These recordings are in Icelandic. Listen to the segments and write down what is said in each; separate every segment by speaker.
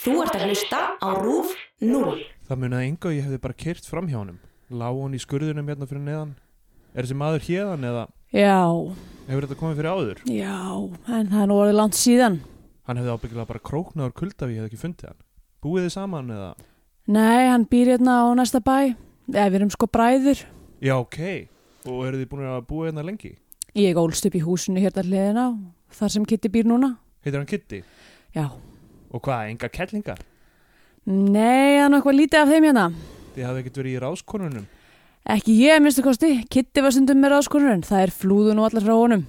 Speaker 1: Þú ert að hlusta á RÚF 0.
Speaker 2: Það munaði enga að ég hefði bara kyrt fram hjá honum Lá hann í skurðunum hérna fyrir neðan Er þessi maður hérðan eða
Speaker 3: Já,
Speaker 2: hefur þetta komið fyrir áður?
Speaker 3: já, en það er nú orðið langt síðan.
Speaker 2: Hann hefði ábyggilega bara króknaður kulda ef ég hefði ekki fundið hann Búið þið saman eða?
Speaker 3: Nei, hann býr hérna á næsta bæ. Eða við erum sko bræður.
Speaker 2: Já, ok Og eru þið búin að búa hérna lengi?
Speaker 3: Ég ólst upp í húsinu hérna hliðina, þar sem Kitty býr núna.
Speaker 2: Heitir hann Kitty?
Speaker 3: Já.
Speaker 2: Og hvað, enga kellingar?
Speaker 3: Nei, hann er eitthvað lítið af þeim hérna.
Speaker 2: Þið hafði ekkert verið í ráskonunum
Speaker 3: Ekki ég, minnstu kosti. Kitty var stundum með ráskonurinn. Það er flúðun og allar frá honum.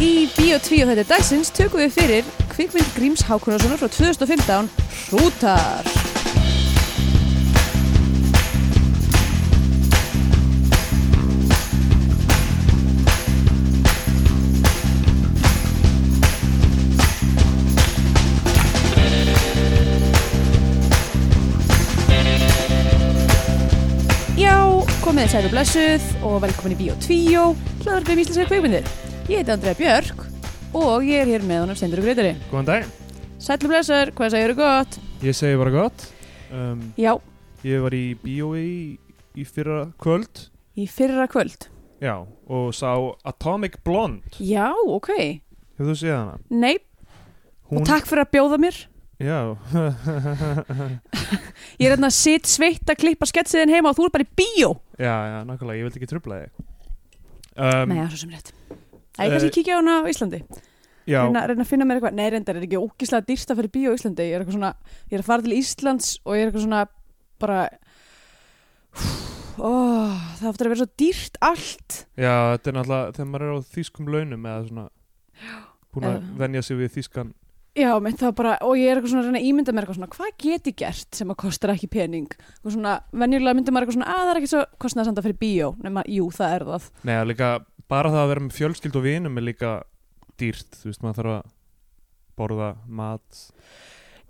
Speaker 3: Í Bíó 2 þetta dagsins tökum við fyrir kvikmynd Gríms Hákunarssonar frá 2015, Hrútar. Já, komið þið særu blessuð og velkomin í Bíó 2, hlaðarpið um íslenskar kvikmyndir. Ég heiti Andrea Björk og ég er hér með honum Stendur og Greitari.
Speaker 2: Góðan daginn
Speaker 3: Sælu blessur, hvað segir þú gott?
Speaker 2: Ég segi bara gott um,
Speaker 3: Já,
Speaker 2: Ég var í bíói í fyrra kvöld
Speaker 3: í fyrra kvöld.
Speaker 2: Já, og sá Atomic Blonde
Speaker 3: Já, ok.
Speaker 2: Hefur þú séð hana?
Speaker 3: Nei, og takk fyrir að bjóða mér.
Speaker 2: Já
Speaker 3: Ég er hérna sitt sveitt að klippa sketsiðin heima og þú er bara í bíó.
Speaker 2: Já, já, nákvæmlega, ég vildi ekki trubla þig um,
Speaker 3: Nei, það er svo sem rétt. Æ, ég kannski kíkja á hana á Íslandi.
Speaker 2: Já,
Speaker 3: Reyna, reyna að finna mér eitthvað. Nei, reyndar er ekki ógislega dýrst að fyrir bíó á Íslandi. Ég er eitthvað svona, ég er að fara til Íslands og ég er eitthvað svona bara... Ó, það áttur að vera svo dýrt allt.
Speaker 2: já, þetta er náttúrulega þegar maður er á þýskum launum eða svona búin að
Speaker 3: Já.
Speaker 2: venja sig við þýskan
Speaker 3: Já, menn það bara, og ég er eitthvað svona að reyna að ímynda mér eitthvað svona, hvað get ég gert sem að kostar ekki pening? Og svona, venjulega myndir maður eitthvað svona, að það er ekki svo kostnaðsanda fyrir bíó, nema, jú, það er það.
Speaker 2: Nei, það er líka, bara það að vera með fjölskyld og vinum er líka dýrt Þú veist, maður þarf að borða mat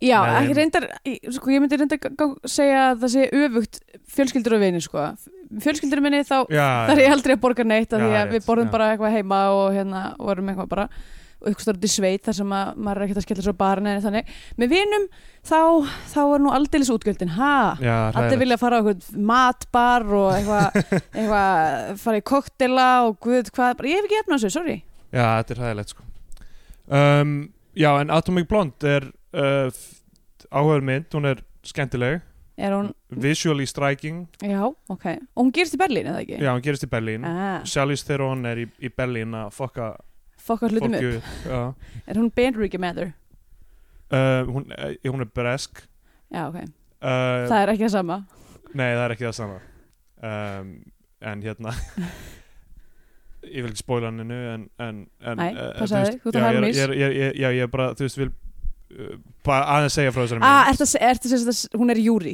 Speaker 3: Já,
Speaker 2: Nei.
Speaker 3: ekki reyndar, ég- sko, ég myndi reyndar gá- gá- segja að það sé öfugt fjölskyldur og vinni, sko. Fjölskyldur og vinni þá,
Speaker 2: Já,
Speaker 3: þar er ég aldrei að borga neitt af
Speaker 2: Já,
Speaker 3: því að
Speaker 2: rétt,
Speaker 3: við borðum
Speaker 2: já.
Speaker 3: bara eitthvað heima og hérna vorum eitthvað bara og eitthvað stórt í sveit þar sem að maður er ekkert að skella svo barni en þannig, með vinum þá, þá er nú aldeilis útgjöldin, ha?
Speaker 2: já,
Speaker 3: Allir
Speaker 2: hræðilegt.
Speaker 3: vilja fara á eitthvað matbar og eitthvað, eitthvað fara í koktela og guð hvað, bara, ég hef ekki efna þessu, sorry.
Speaker 2: Já, þetta er hæðilegt sko um, Já, en Atomic Blonde er uh, áhverð mynd, hún er skemmtileg
Speaker 3: Er hún,
Speaker 2: Visually striking,
Speaker 3: já, ok. Og hún gerist í Berlín, eða ekki?
Speaker 2: já, hún gerist í Berlín
Speaker 3: Ah,
Speaker 2: Charlize Theron er í, í Berlín að fokka
Speaker 3: Fokkar hlutum upp.
Speaker 2: fólki já.
Speaker 3: Er hún Bandryggi Mather?
Speaker 2: uh, hún, uh, hún er bresk
Speaker 3: Já, ok.
Speaker 2: uh,
Speaker 3: Það er ekki það sama.
Speaker 2: Nei, það er ekki það sama um, En hérna Ég vil ekki spóla hann nú en, en, en
Speaker 3: Nei,
Speaker 2: eh,
Speaker 3: passaðu
Speaker 2: veist,
Speaker 3: þig, þú ert
Speaker 2: já,
Speaker 3: að
Speaker 2: ég er-
Speaker 3: harmis.
Speaker 2: ég er- ég er- Já, ég er bara, þú veist, vil uh, bara aðeins segja frá þessari
Speaker 3: Ah, ertu að se- ertu að segja að hún er Júri?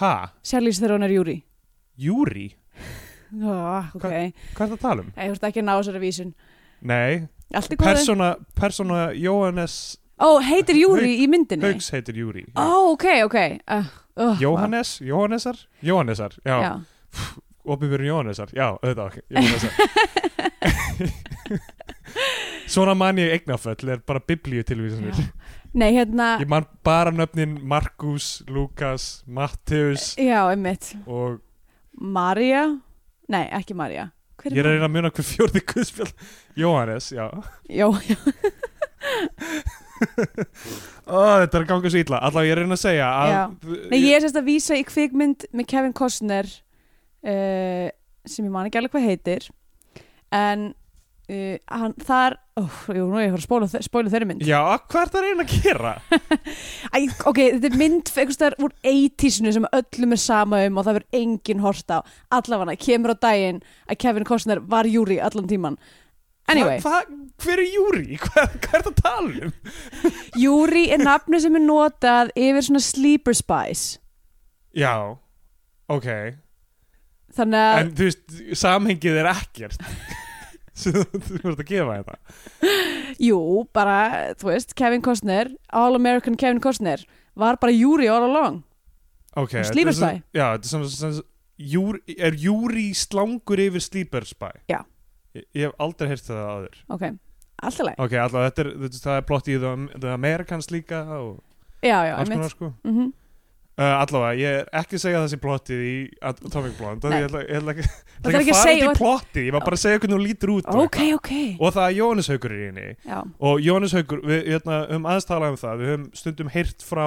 Speaker 2: Ha?
Speaker 3: Sjálfís þegar hún er Júri?
Speaker 2: Júri?
Speaker 3: Ah, ok.
Speaker 2: Hvað-
Speaker 3: Nei,
Speaker 2: Hvað er það að tala um?
Speaker 3: Þú ert ekki að ná þessari vísun.
Speaker 2: Nei,
Speaker 3: Allt er góð.
Speaker 2: persóna, persóna Jóhannes
Speaker 3: Ó, heitir Júri í myndinni?
Speaker 2: Haugs heitir Júri
Speaker 3: Ó, ok, ok. Uh, uh,
Speaker 2: Jóhannes, Jóhannesar, Jóhannesar Já,
Speaker 3: Já.
Speaker 2: opinbjörn Jóhannesar Já, auðvitað, Jóhannesar Svona man ég eignaföll er bara biblíu tilvísanir
Speaker 3: Nei, hérna...
Speaker 2: Ég man bara nöfnin Markus, Lukas, Mattheus
Speaker 3: Já, einmitt.
Speaker 2: og
Speaker 3: Marja Nei, ekki Marja Hver
Speaker 2: ég er að
Speaker 3: María?
Speaker 2: reyna að muna hver fjórði guðspjall Jóhannes, já
Speaker 3: Já, já,
Speaker 2: Ó, Þetta er að ganga svo illa, allavega ég er að reyna að segja að,
Speaker 3: Nei, ég er sérst að vísa í kvikmynd með Kevin Costner uh, sem ég man ekki alveg hvað heitir en uh, hann þar ó, jú, nú er ég að fara að spóla, þe- spóla þeirri mynd
Speaker 2: Já, hvað er það að reyna að gera?
Speaker 3: Æ, ok, þetta er mynd einhvers staðar úr 80-sinu sem öllum er sama um og það verður engin hort á allafana, kemur á daginn að Kevin Costner var júri allan tíman Anyway,
Speaker 2: hva, hva, Hver er Júri? Hvað, hvað er það að tala um?
Speaker 3: júri er nafni sem er notað yfir svona sleeper spies
Speaker 2: Já, ok
Speaker 3: Þannig að
Speaker 2: En þú veist, samhengið er ekkert sem þú þú ert að gefa þetta
Speaker 3: Jú, bara, þú veist, Kevin Costner All American Kevin Costner var bara júri all along
Speaker 2: Ok,
Speaker 3: Og
Speaker 2: þetta er
Speaker 3: Sleepers
Speaker 2: sem-
Speaker 3: Spy.
Speaker 2: Já, þetta er sem, sem, sem júr, Er Júri slangur yfir Sleeper Spy?
Speaker 3: Já.
Speaker 2: Ég, ég hef aldrei heyrt það aður
Speaker 3: Ok, alltaf leið
Speaker 2: ok, alltaf þetta er, þetta, það er plott í The, The Americans líka og
Speaker 3: já, já,
Speaker 2: alls
Speaker 3: einmitt
Speaker 2: konar sko
Speaker 3: mm
Speaker 2: Uh, allavega, ég er ekki að segja þessi plottið í Atomic Blonde af því
Speaker 3: Nei.
Speaker 2: ég ætla, ég ætla ekki, ég
Speaker 3: ætlar
Speaker 2: ætla ekki
Speaker 3: ekki
Speaker 2: að fara
Speaker 3: að segja
Speaker 2: út í
Speaker 3: what-
Speaker 2: plottið ég var bara að segja hvernig hún lítur út og
Speaker 3: ok,
Speaker 2: eitthvað.
Speaker 3: ok
Speaker 2: og það er Jónis Haukur í henni
Speaker 3: já,
Speaker 2: og Jónis Haukur, við hérna, höfum aðeins talað um það við höfum stundum heyrt frá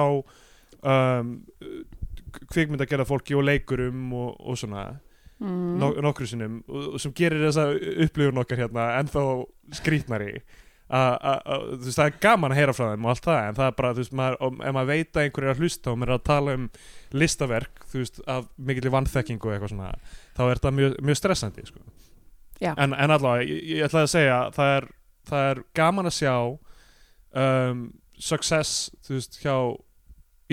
Speaker 2: um, kvikmynd að gera fólki og leikurum og, og svona
Speaker 3: mm.
Speaker 2: no nokkru sinnum og, og sem gerir þessa upplifun okkar hérna ennþá skrýtnari A- a- a- þú veist, það er gaman að heyra frá þeim og allt það, en það er bara, þú veist, maður, og, ef maður veit að einhverju er að hlusta og maður er að tala um listaverk, þú veist, af mikilli vannþekkingu og eitthvað svona, þá er það mjög, mjög stressandi, sko
Speaker 3: Já.
Speaker 2: en, en allavega, ég, ég ætlaði að segja það er, það er gaman að sjá um, success þú veist, hjá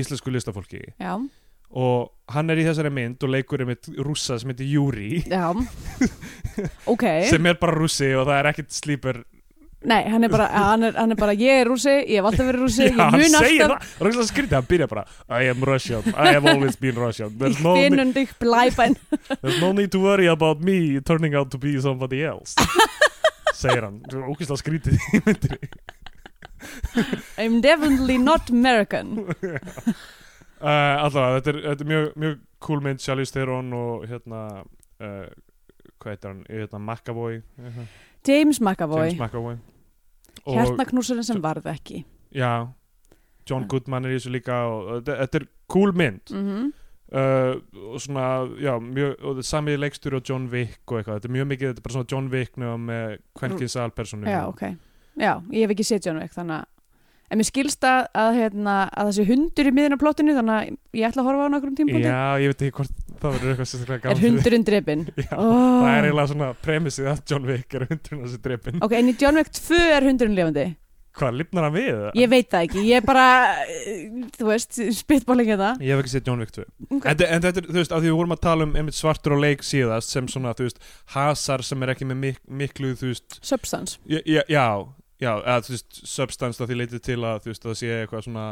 Speaker 2: íslensku listafólki
Speaker 3: já,
Speaker 2: og hann er í þessari mynd og leikur einmitt rússa sem heitir Júri
Speaker 3: já ok,
Speaker 2: sem er bara rússi og það er ekkert slíper
Speaker 3: nei, hann er bara hann er, hann er bara, ég er rúsi, ég hef alltaf verið rúsi
Speaker 2: Já,
Speaker 3: ég
Speaker 2: hann
Speaker 3: mun
Speaker 2: segir
Speaker 3: alltaf
Speaker 2: það, rússlega skrítið, hann byrja bara I am Russian, I have always been Russian
Speaker 3: Ich
Speaker 2: there's no,
Speaker 3: bin
Speaker 2: ne
Speaker 3: und ich bleibe ein
Speaker 2: there's no need to worry about me turning out to be somebody else segir hann, það er ókvæslega skrítið í myndinni
Speaker 3: I'm definitely not American
Speaker 2: uh, allavega, þetta er, þetta er mjög, mjög cool mynd, Charlize Theron og hérna uh, hvað heitir hann, hérna McAvoy hérna,
Speaker 3: James McAvoy,
Speaker 2: James McAvoy Og-
Speaker 3: hjartaknúsarinn sem varð ekki
Speaker 2: Já,
Speaker 3: Ah.
Speaker 2: John Goodman er í þessu líka og og þetta þetta er cool mynd
Speaker 3: mhm
Speaker 2: uh, og svona, já, mjög, og það er sami leikstur og John Wick og eitthvað, þetta er mjög mikið þetta er bara svona John Wick nema með kvenkins alpersonu
Speaker 3: Mm. Já, ok. Já, ég hef ekki séð John Wick, þannig að en mér skilst að, að, hérna, að þessi hundur í miðin af plottinu, þannig að ég ætla að horfa á hann okkur um tímpúndi.
Speaker 2: Já, ég veit ekki hvort það verður eitthvað sérstaklega
Speaker 3: Er
Speaker 2: gaman fyrir-
Speaker 3: hundurinn drefin?
Speaker 2: Já,
Speaker 3: Oh.
Speaker 2: Það er eiginlega svona premissið að John Wick er hundurinn að sér drepin
Speaker 3: Ok, en í John Wick 2 er hundurinn lifandi?
Speaker 2: Hvað, lifnar hann við?
Speaker 3: Ég veit það ekki, ég er bara, eh, þú veist, spytbálingi það.
Speaker 2: Ég hef ekki séð John Wick 2
Speaker 3: Ok.
Speaker 2: en, en þetta er, þú veist, af því við vorum að tala um einmitt svartur og leik síðast sem svona, þú veist, hasar sem er ekki með mik miklu, þú veist,
Speaker 3: Substance.
Speaker 2: Já, já, já, já eða, þú veist, substance að því leitið til að þú veist, það sé eitthvað svona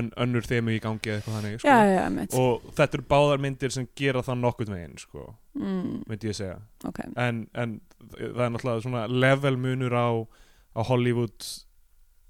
Speaker 2: ön, önnur þemu í gangi eða eitthvað þannig,
Speaker 3: Já,
Speaker 2: sko.
Speaker 3: já, já, mitt.
Speaker 2: Og þetta eru báðar myndir sem gera það nokkurn veginn, sko,
Speaker 3: Mm,
Speaker 2: myndi ég segja.
Speaker 3: ok,
Speaker 2: En, en það er náttúrulega svona level munur á, á Hollywood,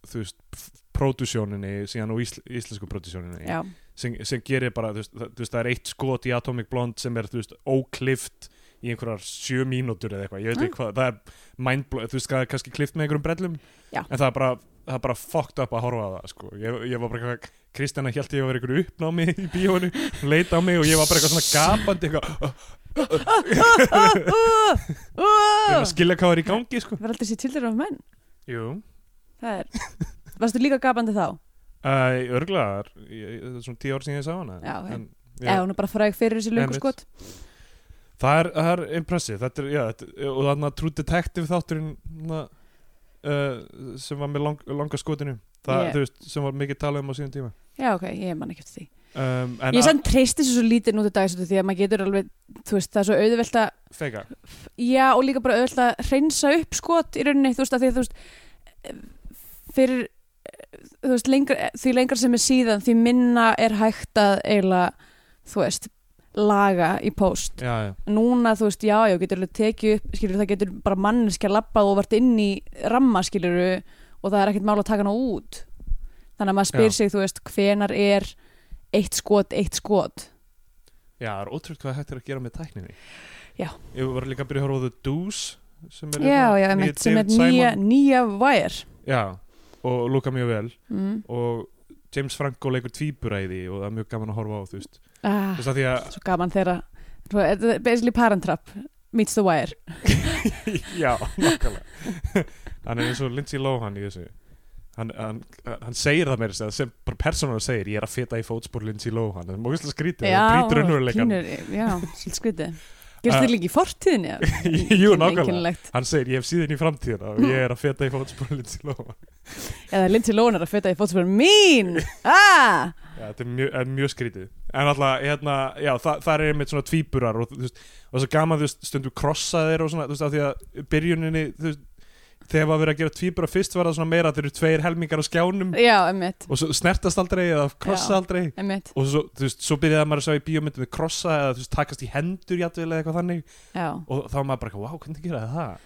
Speaker 2: þú veist, f- pródusjóninni síðan og ísl, íslensku pródusjóninni
Speaker 3: já, sem
Speaker 2: sem, sem gerir bara, þú veist, það, þú veist, það er eitt skot í Atomic Blonde sem er, þú veist, óklift í einhverjar sjö mínútur eða eitthvað, ég
Speaker 3: Ah.
Speaker 2: veit ekki hvað, það er mindblowing, þú veist, það er kannski klift með einhverjum brellum,
Speaker 3: Já.
Speaker 2: en það er bara, það er bara fucked up að horfa á það, sko, ég, ég var bara eitthvað, Kristjana held ég að vera einhverju uppnámi í bíóinu, hún leit á mig og ég var bara eitthvað svona gapandi, eitthvað, ég
Speaker 3: Ah."
Speaker 2: var að skilja hvað var í gangi, sko.
Speaker 3: verður aldrei sér tildur af menn.
Speaker 2: Jú,
Speaker 3: Það er, varstu líka gapandi þá?
Speaker 2: uh, örglaðar, það er svona tíu ár síðan ég sá hana,
Speaker 3: Já, ok.
Speaker 2: en,
Speaker 3: Já, hún er bara fræg fyrir þessi lungu
Speaker 2: Einmitt.
Speaker 3: skot.
Speaker 2: Það er, það er impressive þetta er, já, þetta, og þannig að True Detective þátturinn na, uh, sem var með lang, langa skotinu það,
Speaker 3: Yeah.
Speaker 2: þú veist, sem var mikið talað um á síðan tíma
Speaker 3: Já, ok, ég man ekki eftir því.
Speaker 2: um, en
Speaker 3: Ég
Speaker 2: að
Speaker 3: sann treysti þessu svo lítið nú til dags út af því að maður getur alveg, þú veist, það er svo auðvelt að,
Speaker 2: feika,
Speaker 3: já og líka bara auðvelt að hreinsa upp skot í rauninni, þú veist, að því að þú veist, fyrir, þú veist, lengra, því lengra sem er síðan, því minna er hægt að eiginlega, þú veist, laga í post.
Speaker 2: já, já,
Speaker 3: Núna, þú veist, já, já, getur alveg tekið upp, skilur, það getur bara manneskja labbað og vart inn í ramma, skilur, og það er ekkert mál að taka hana út. Þannig að maður spyr
Speaker 2: Já.
Speaker 3: sig, þú veist, hvenar er eitt skot, eitt skot.
Speaker 2: já, það er ótrúlega hvað hægt er að gera með tækninni
Speaker 3: Já.
Speaker 2: ég var líka að byrja að horfa á The Doos sem er,
Speaker 3: Já,
Speaker 2: hérna,
Speaker 3: já,
Speaker 2: nýi
Speaker 3: einmitt, sem er
Speaker 2: David
Speaker 3: nýja,
Speaker 2: Simon.
Speaker 3: nýja vær
Speaker 2: já, og lúka mjög vel
Speaker 3: mm.
Speaker 2: og James Franco leikur tvíburæði og það er mjög gaman að horfa á þú veist,
Speaker 3: ah,
Speaker 2: þú veist að því að
Speaker 3: Svo gaman þeirra Svo er þetta Basically Parent Trap meets the wire
Speaker 2: Já, nokkulega Hann er eins og Lindsay Lohan í þessu Hann, hann, hann segir það meira sem, sem bara persónulega segir, ég er að feta í fótspor Lindsay Lohan, það er mjög skrítið það brýtur önnuruleikan,
Speaker 3: pínur, Já, svolítið skrítið Gerst þér líka í fortíðinni
Speaker 2: Jú, nákvæmlega.
Speaker 3: Einkennilegt.
Speaker 2: hann segir ég hef síðan í framtíðina og ég er að feta í fótspor Lindsay Lohan
Speaker 3: Eða Lindsay Lohan er að feta í fótspörn Mín ah!
Speaker 2: Já, þetta er mjög, er mjög skrítið en alltaf, hérna, já, þa það er einmitt svona tvíburar og þú veist, og svo gaman þú veist, stundum krossa þeir og svona, þú veist, af því að byrjuninni, þú veist, þegar var verið að gera tvíbura fyrst var það svona meira að þeir eru tveir helmingar á skjánum
Speaker 3: Já, emmitt
Speaker 2: og svo snertast aldrei eða krossa
Speaker 3: Já.
Speaker 2: aldrei
Speaker 3: Emmitt,
Speaker 2: og svo, þú veist, svo byrjaði maður að sjá í bíómyndum við krossa eða þú veist, takast í hendur játvel eða eitthvað þannig
Speaker 3: já
Speaker 2: og þá var maður bara, wow, hvernig geraði það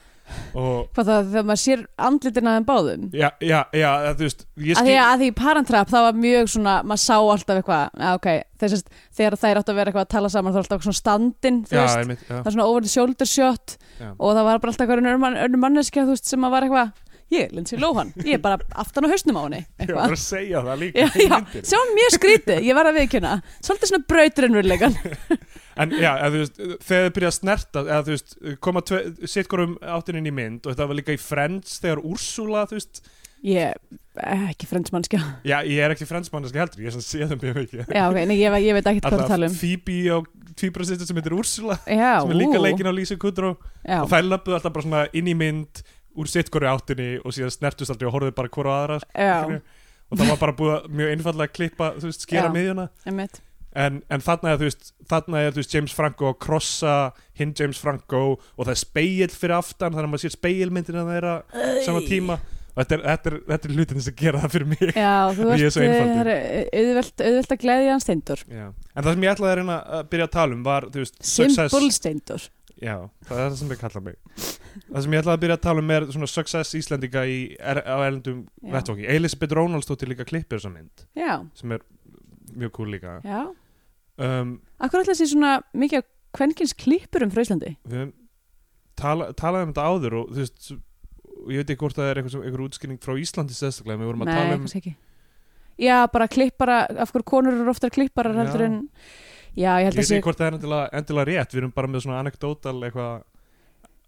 Speaker 2: og
Speaker 3: hvað það, þegar maður sér andlitin aðeim báðum
Speaker 2: já, já, já, það, þú veist ég
Speaker 3: að því
Speaker 2: skil,
Speaker 3: að því í Parantrap það var mjög svona, maður sá alltaf eitthvað að, okay, þessast, þegar þær áttu að vera eitthvað að tala saman þá var alltaf svona standin þú
Speaker 2: já,
Speaker 3: veist,
Speaker 2: einmitt, já,
Speaker 3: það var svona over the shoulder shot
Speaker 2: Já.
Speaker 3: og það var bara alltaf eitthvað önnur mann- önnur manneskja þú veist, sem að var eitthvað ég, Lindsay Lohan, ég er bara aftan á hausnum á henni
Speaker 2: ég
Speaker 3: eitthvað
Speaker 2: var að segja það líka
Speaker 3: já,
Speaker 2: í
Speaker 3: já,
Speaker 2: myndinni.
Speaker 3: sem var mjög skrítið, ég var að viðkynna svolítið svona brautrunveruleikan
Speaker 2: En já, eða, þú veist, þegar þau byrja að snerta eða þú veist, koma tve, sitt hvorum áttininn í mynd og þetta var líka í Friends þegar Úrsula, þú veist
Speaker 3: ég, eh, ekki frensmannskja
Speaker 2: já, ég er ekki Friends manneski heldur, ég er svona séðum mjög mikið
Speaker 3: já, ok, nei, ég, ve- ég veit ekkert hvað það tala um
Speaker 2: Phoebe og tvíbrasistur sem heitir Úrsula
Speaker 3: já,
Speaker 2: sem er líka
Speaker 3: ú,
Speaker 2: leikin á Lisa Kudrow
Speaker 3: já,
Speaker 2: og þær löpuðu alltaf bara svona inn í mynd úr sitt hverju áttinni og síðan snertust aldrei og horfðu bara hverju aðra sko,
Speaker 3: já,
Speaker 2: skilurðu. og það var bara búið að- mjög einfallega að klippa þú veist, skera
Speaker 3: Já.
Speaker 2: miðjuna
Speaker 3: einmitt
Speaker 2: en, en þarna er, þú veist, þarna er þú veist, James Franco að krossa hinn James Franco og það er speil fyrir aftan þannig að maður sér speilmyndina þeirra sama tíma og þetta er, þetta er, þetta er hlutin sem gera það fyrir mig
Speaker 3: Já, þú
Speaker 2: Ég er
Speaker 3: ert
Speaker 2: svo einfaldur.
Speaker 3: það er auðvelt, auðvelt að gleðja hann steindur
Speaker 2: Já. en það sem ég ætlaði að reyna að byrja að tala um var þú veist,
Speaker 3: Simple
Speaker 2: success
Speaker 3: steindur
Speaker 2: Já, það er það sem ég kalla mig það sem ég ætlaði að byrja að tala um er svona success Íslendinga í, er, á erlendum
Speaker 3: Já.
Speaker 2: vettvóki Elisabeth Rónaldsdóttir líka klippir þessa mynd
Speaker 3: Já,
Speaker 2: sem er mjög cool líka
Speaker 3: já
Speaker 2: um,
Speaker 3: Akkur ætla þessi svona mikið af kvenkins klípur um frá Íslandi
Speaker 2: við höfum tala, talaði um þetta áður og þú veist s- og ég veit ekki hvort það er einhver, einhver útskynning frá Íslandi sérstaklega, við vorum að tala um
Speaker 3: kannski ekki Já, bara klippara, af hverju konur eru oftar klipparar
Speaker 2: Já.
Speaker 3: heldur en Já,
Speaker 2: ég
Speaker 3: ég held
Speaker 2: veit
Speaker 3: að sé
Speaker 2: ekki hvort það er endilega, endilega rétt, við erum bara með svona anekdótal eitthvað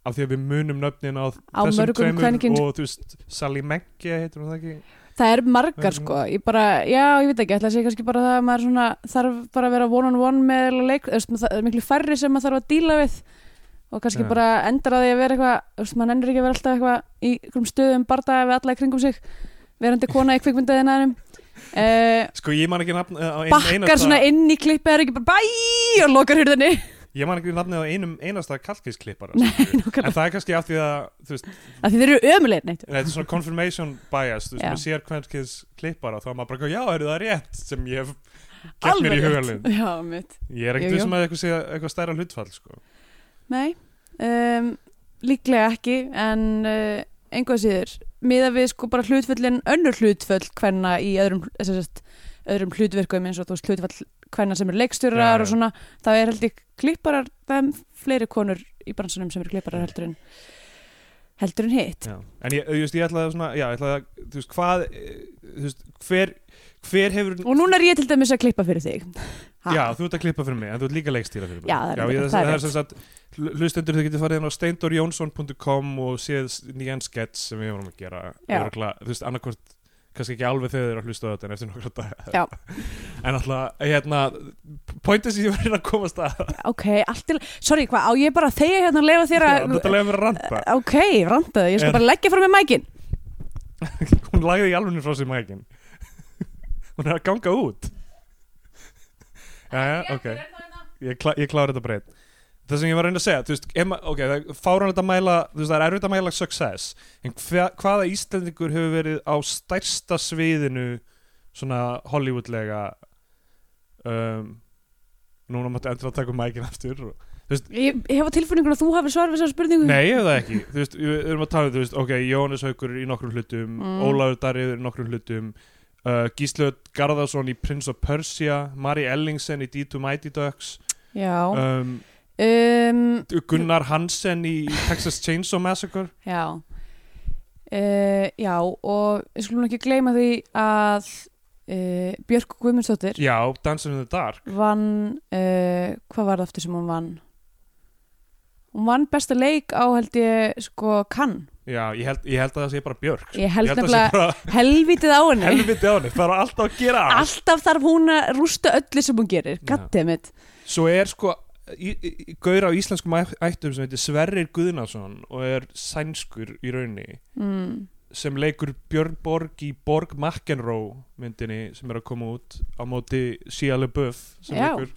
Speaker 2: af því að við munum nöfnin á,
Speaker 3: Á
Speaker 2: þessum
Speaker 3: mörgum kvenkyn-
Speaker 2: og þú veist, Sally Megge heitir hún það ekki
Speaker 3: Það er margar
Speaker 2: Mhm.
Speaker 3: sko, ég bara, já, ég veit ekki, ætla að segja kannski bara það að maður svona, þarf bara að vera one on one með eiginlega leik, þú veist, það er miklu færri sem maður þarf að díla við og kannski
Speaker 2: Já.
Speaker 3: bara endar að því að vera eitthvað, þú veist, maður endur ekki að vera alltaf eitthvað í einhverjum stöðum bardaði við alla í kringum sig, verandi kona í kvikmyndaðin aðeim, uh,
Speaker 2: sko ég man ekki nafn á einum
Speaker 3: bakkar svona inn í klippið, er ekki bara bæ og lokar hurðinni.
Speaker 2: ég man ekki nafnið á einum einasta kalkisklippara
Speaker 3: Nei,
Speaker 2: skilurðu. en
Speaker 3: nákvæmlega.
Speaker 2: það er kannski af því að þú veist,
Speaker 3: Af því þeir eru ömulegir neitt.
Speaker 2: Nei, þetta er svona confirmation bias þú veist,
Speaker 3: Já.
Speaker 2: maður sér kvenkins klippara þá er maður bara, eitthvað, já, eru það rétt sem ég hef gett mér í hugalinn
Speaker 3: Já, mitt.
Speaker 2: ég er
Speaker 3: Jú,
Speaker 2: ekkert
Speaker 3: jú.
Speaker 2: þessum að eitthvað, segja, eitthvað stærra hlutfall sko.
Speaker 3: Nei, um, líklega ekki en uh, einhvað síður miða við sko bara hlutföllin önnur hlutföll hvenna í öðrum, sest, öðrum hlutverkum eins og þú veist hlutföll hvenna sem eru
Speaker 2: Já,
Speaker 3: leikstjórar
Speaker 2: já.
Speaker 3: og svona það er heldur klipparar, það er fleiri konur í bransunum sem eru klipparar heldur en heldur en hitt
Speaker 2: Já. en ég, just, ég ætlaði svona já, ég ætlaði, að- þú veist, hvað eh, þú veist, hver, hver hefur
Speaker 3: og núna er ég til dæmis að klippa fyrir þig Ha.
Speaker 2: Já, þú ert að klippa fyrir mig, en þú ert líka leikstýra fyrir mig
Speaker 3: Já, það er
Speaker 2: ég,
Speaker 3: rétt,
Speaker 2: það
Speaker 3: það er
Speaker 2: er sem sagt hlu- Hlustendur þau getur farið inn á steindorjónsson.com og séð s- nýjan skets sem við vorum að gera
Speaker 3: Já.
Speaker 2: Örgla, Þú veist, annarkvort, kannski ekki alveg þegar þau eru að hlusta á þetta en eftir nokkra dag
Speaker 3: Já.
Speaker 2: En alltaf, hérna, pointið sem ég verið að komast að
Speaker 3: ok, allt til, sorry hvað, á ég bara að þegja hérna að leifa þér
Speaker 2: Já,
Speaker 3: að
Speaker 2: Þetta leiðum við að ranta
Speaker 3: ok, randaðu, ég skal
Speaker 2: En-
Speaker 3: bara leggja frá mig mækin
Speaker 2: Hún lagði í alveg frá sér mækin Hún er að ganga út Jæja, ok ég, klá, ég klára þetta breytt það sem ég var að reyna að segja þú veist, ema, ok, það er fáránlegt að mæla þú veist, það er erfitt að mæla success en hva, hvaða Íslendingur hefur verið á stærsta sviðinu svona Hollywoodlega um, núna máttu endur að taka um mækin aftur og, þú veist,
Speaker 3: Ég, ég hef á tilfinningun að þú hafi svar við þessar spurningu
Speaker 2: nei, ég hef það ekki þú veist, við erum að tala um, þú veist, ok, Jónas Haukur í nokkrum hlutum,
Speaker 3: Mm.
Speaker 2: Ólafur Darriður í nokkrum hlutum uh, Gíslaut Garðarsson í Prince of Persia Mari Ellingsen í D2 Mighty Ducks
Speaker 3: Já,
Speaker 2: um,
Speaker 3: um,
Speaker 2: Gunnar Hansen í Texas Chainsaw Massacre
Speaker 3: já. Uh, já og við skulum ekki gleyma því að uh, Björk Guðmundsdóttir
Speaker 2: Já, Dancing in the Dark
Speaker 3: vann, uh, hvað var það aftur sem hún vann? Hún vann besta leik á held ég sko kann,
Speaker 2: Já, ég held, ég held að það sé bara Björk
Speaker 3: Ég held
Speaker 2: að það sé bara
Speaker 3: helvítið á henni
Speaker 2: helviti á henni Það er alltaf að gera allt
Speaker 3: Alltaf þarf hún að rústa öllu sem hún gerir
Speaker 2: Já.
Speaker 3: Goddammit
Speaker 2: Svo er sko í, í, í- gaur á íslenskum æ- ættum sem heitir Sverrir Guðnason og er sænskur í raunni
Speaker 3: mm.
Speaker 2: sem leikur Björn Borg í Borg McEnroe myndinni sem er að koma út á móti Shia LaBeouf sem
Speaker 3: Já.
Speaker 2: leikur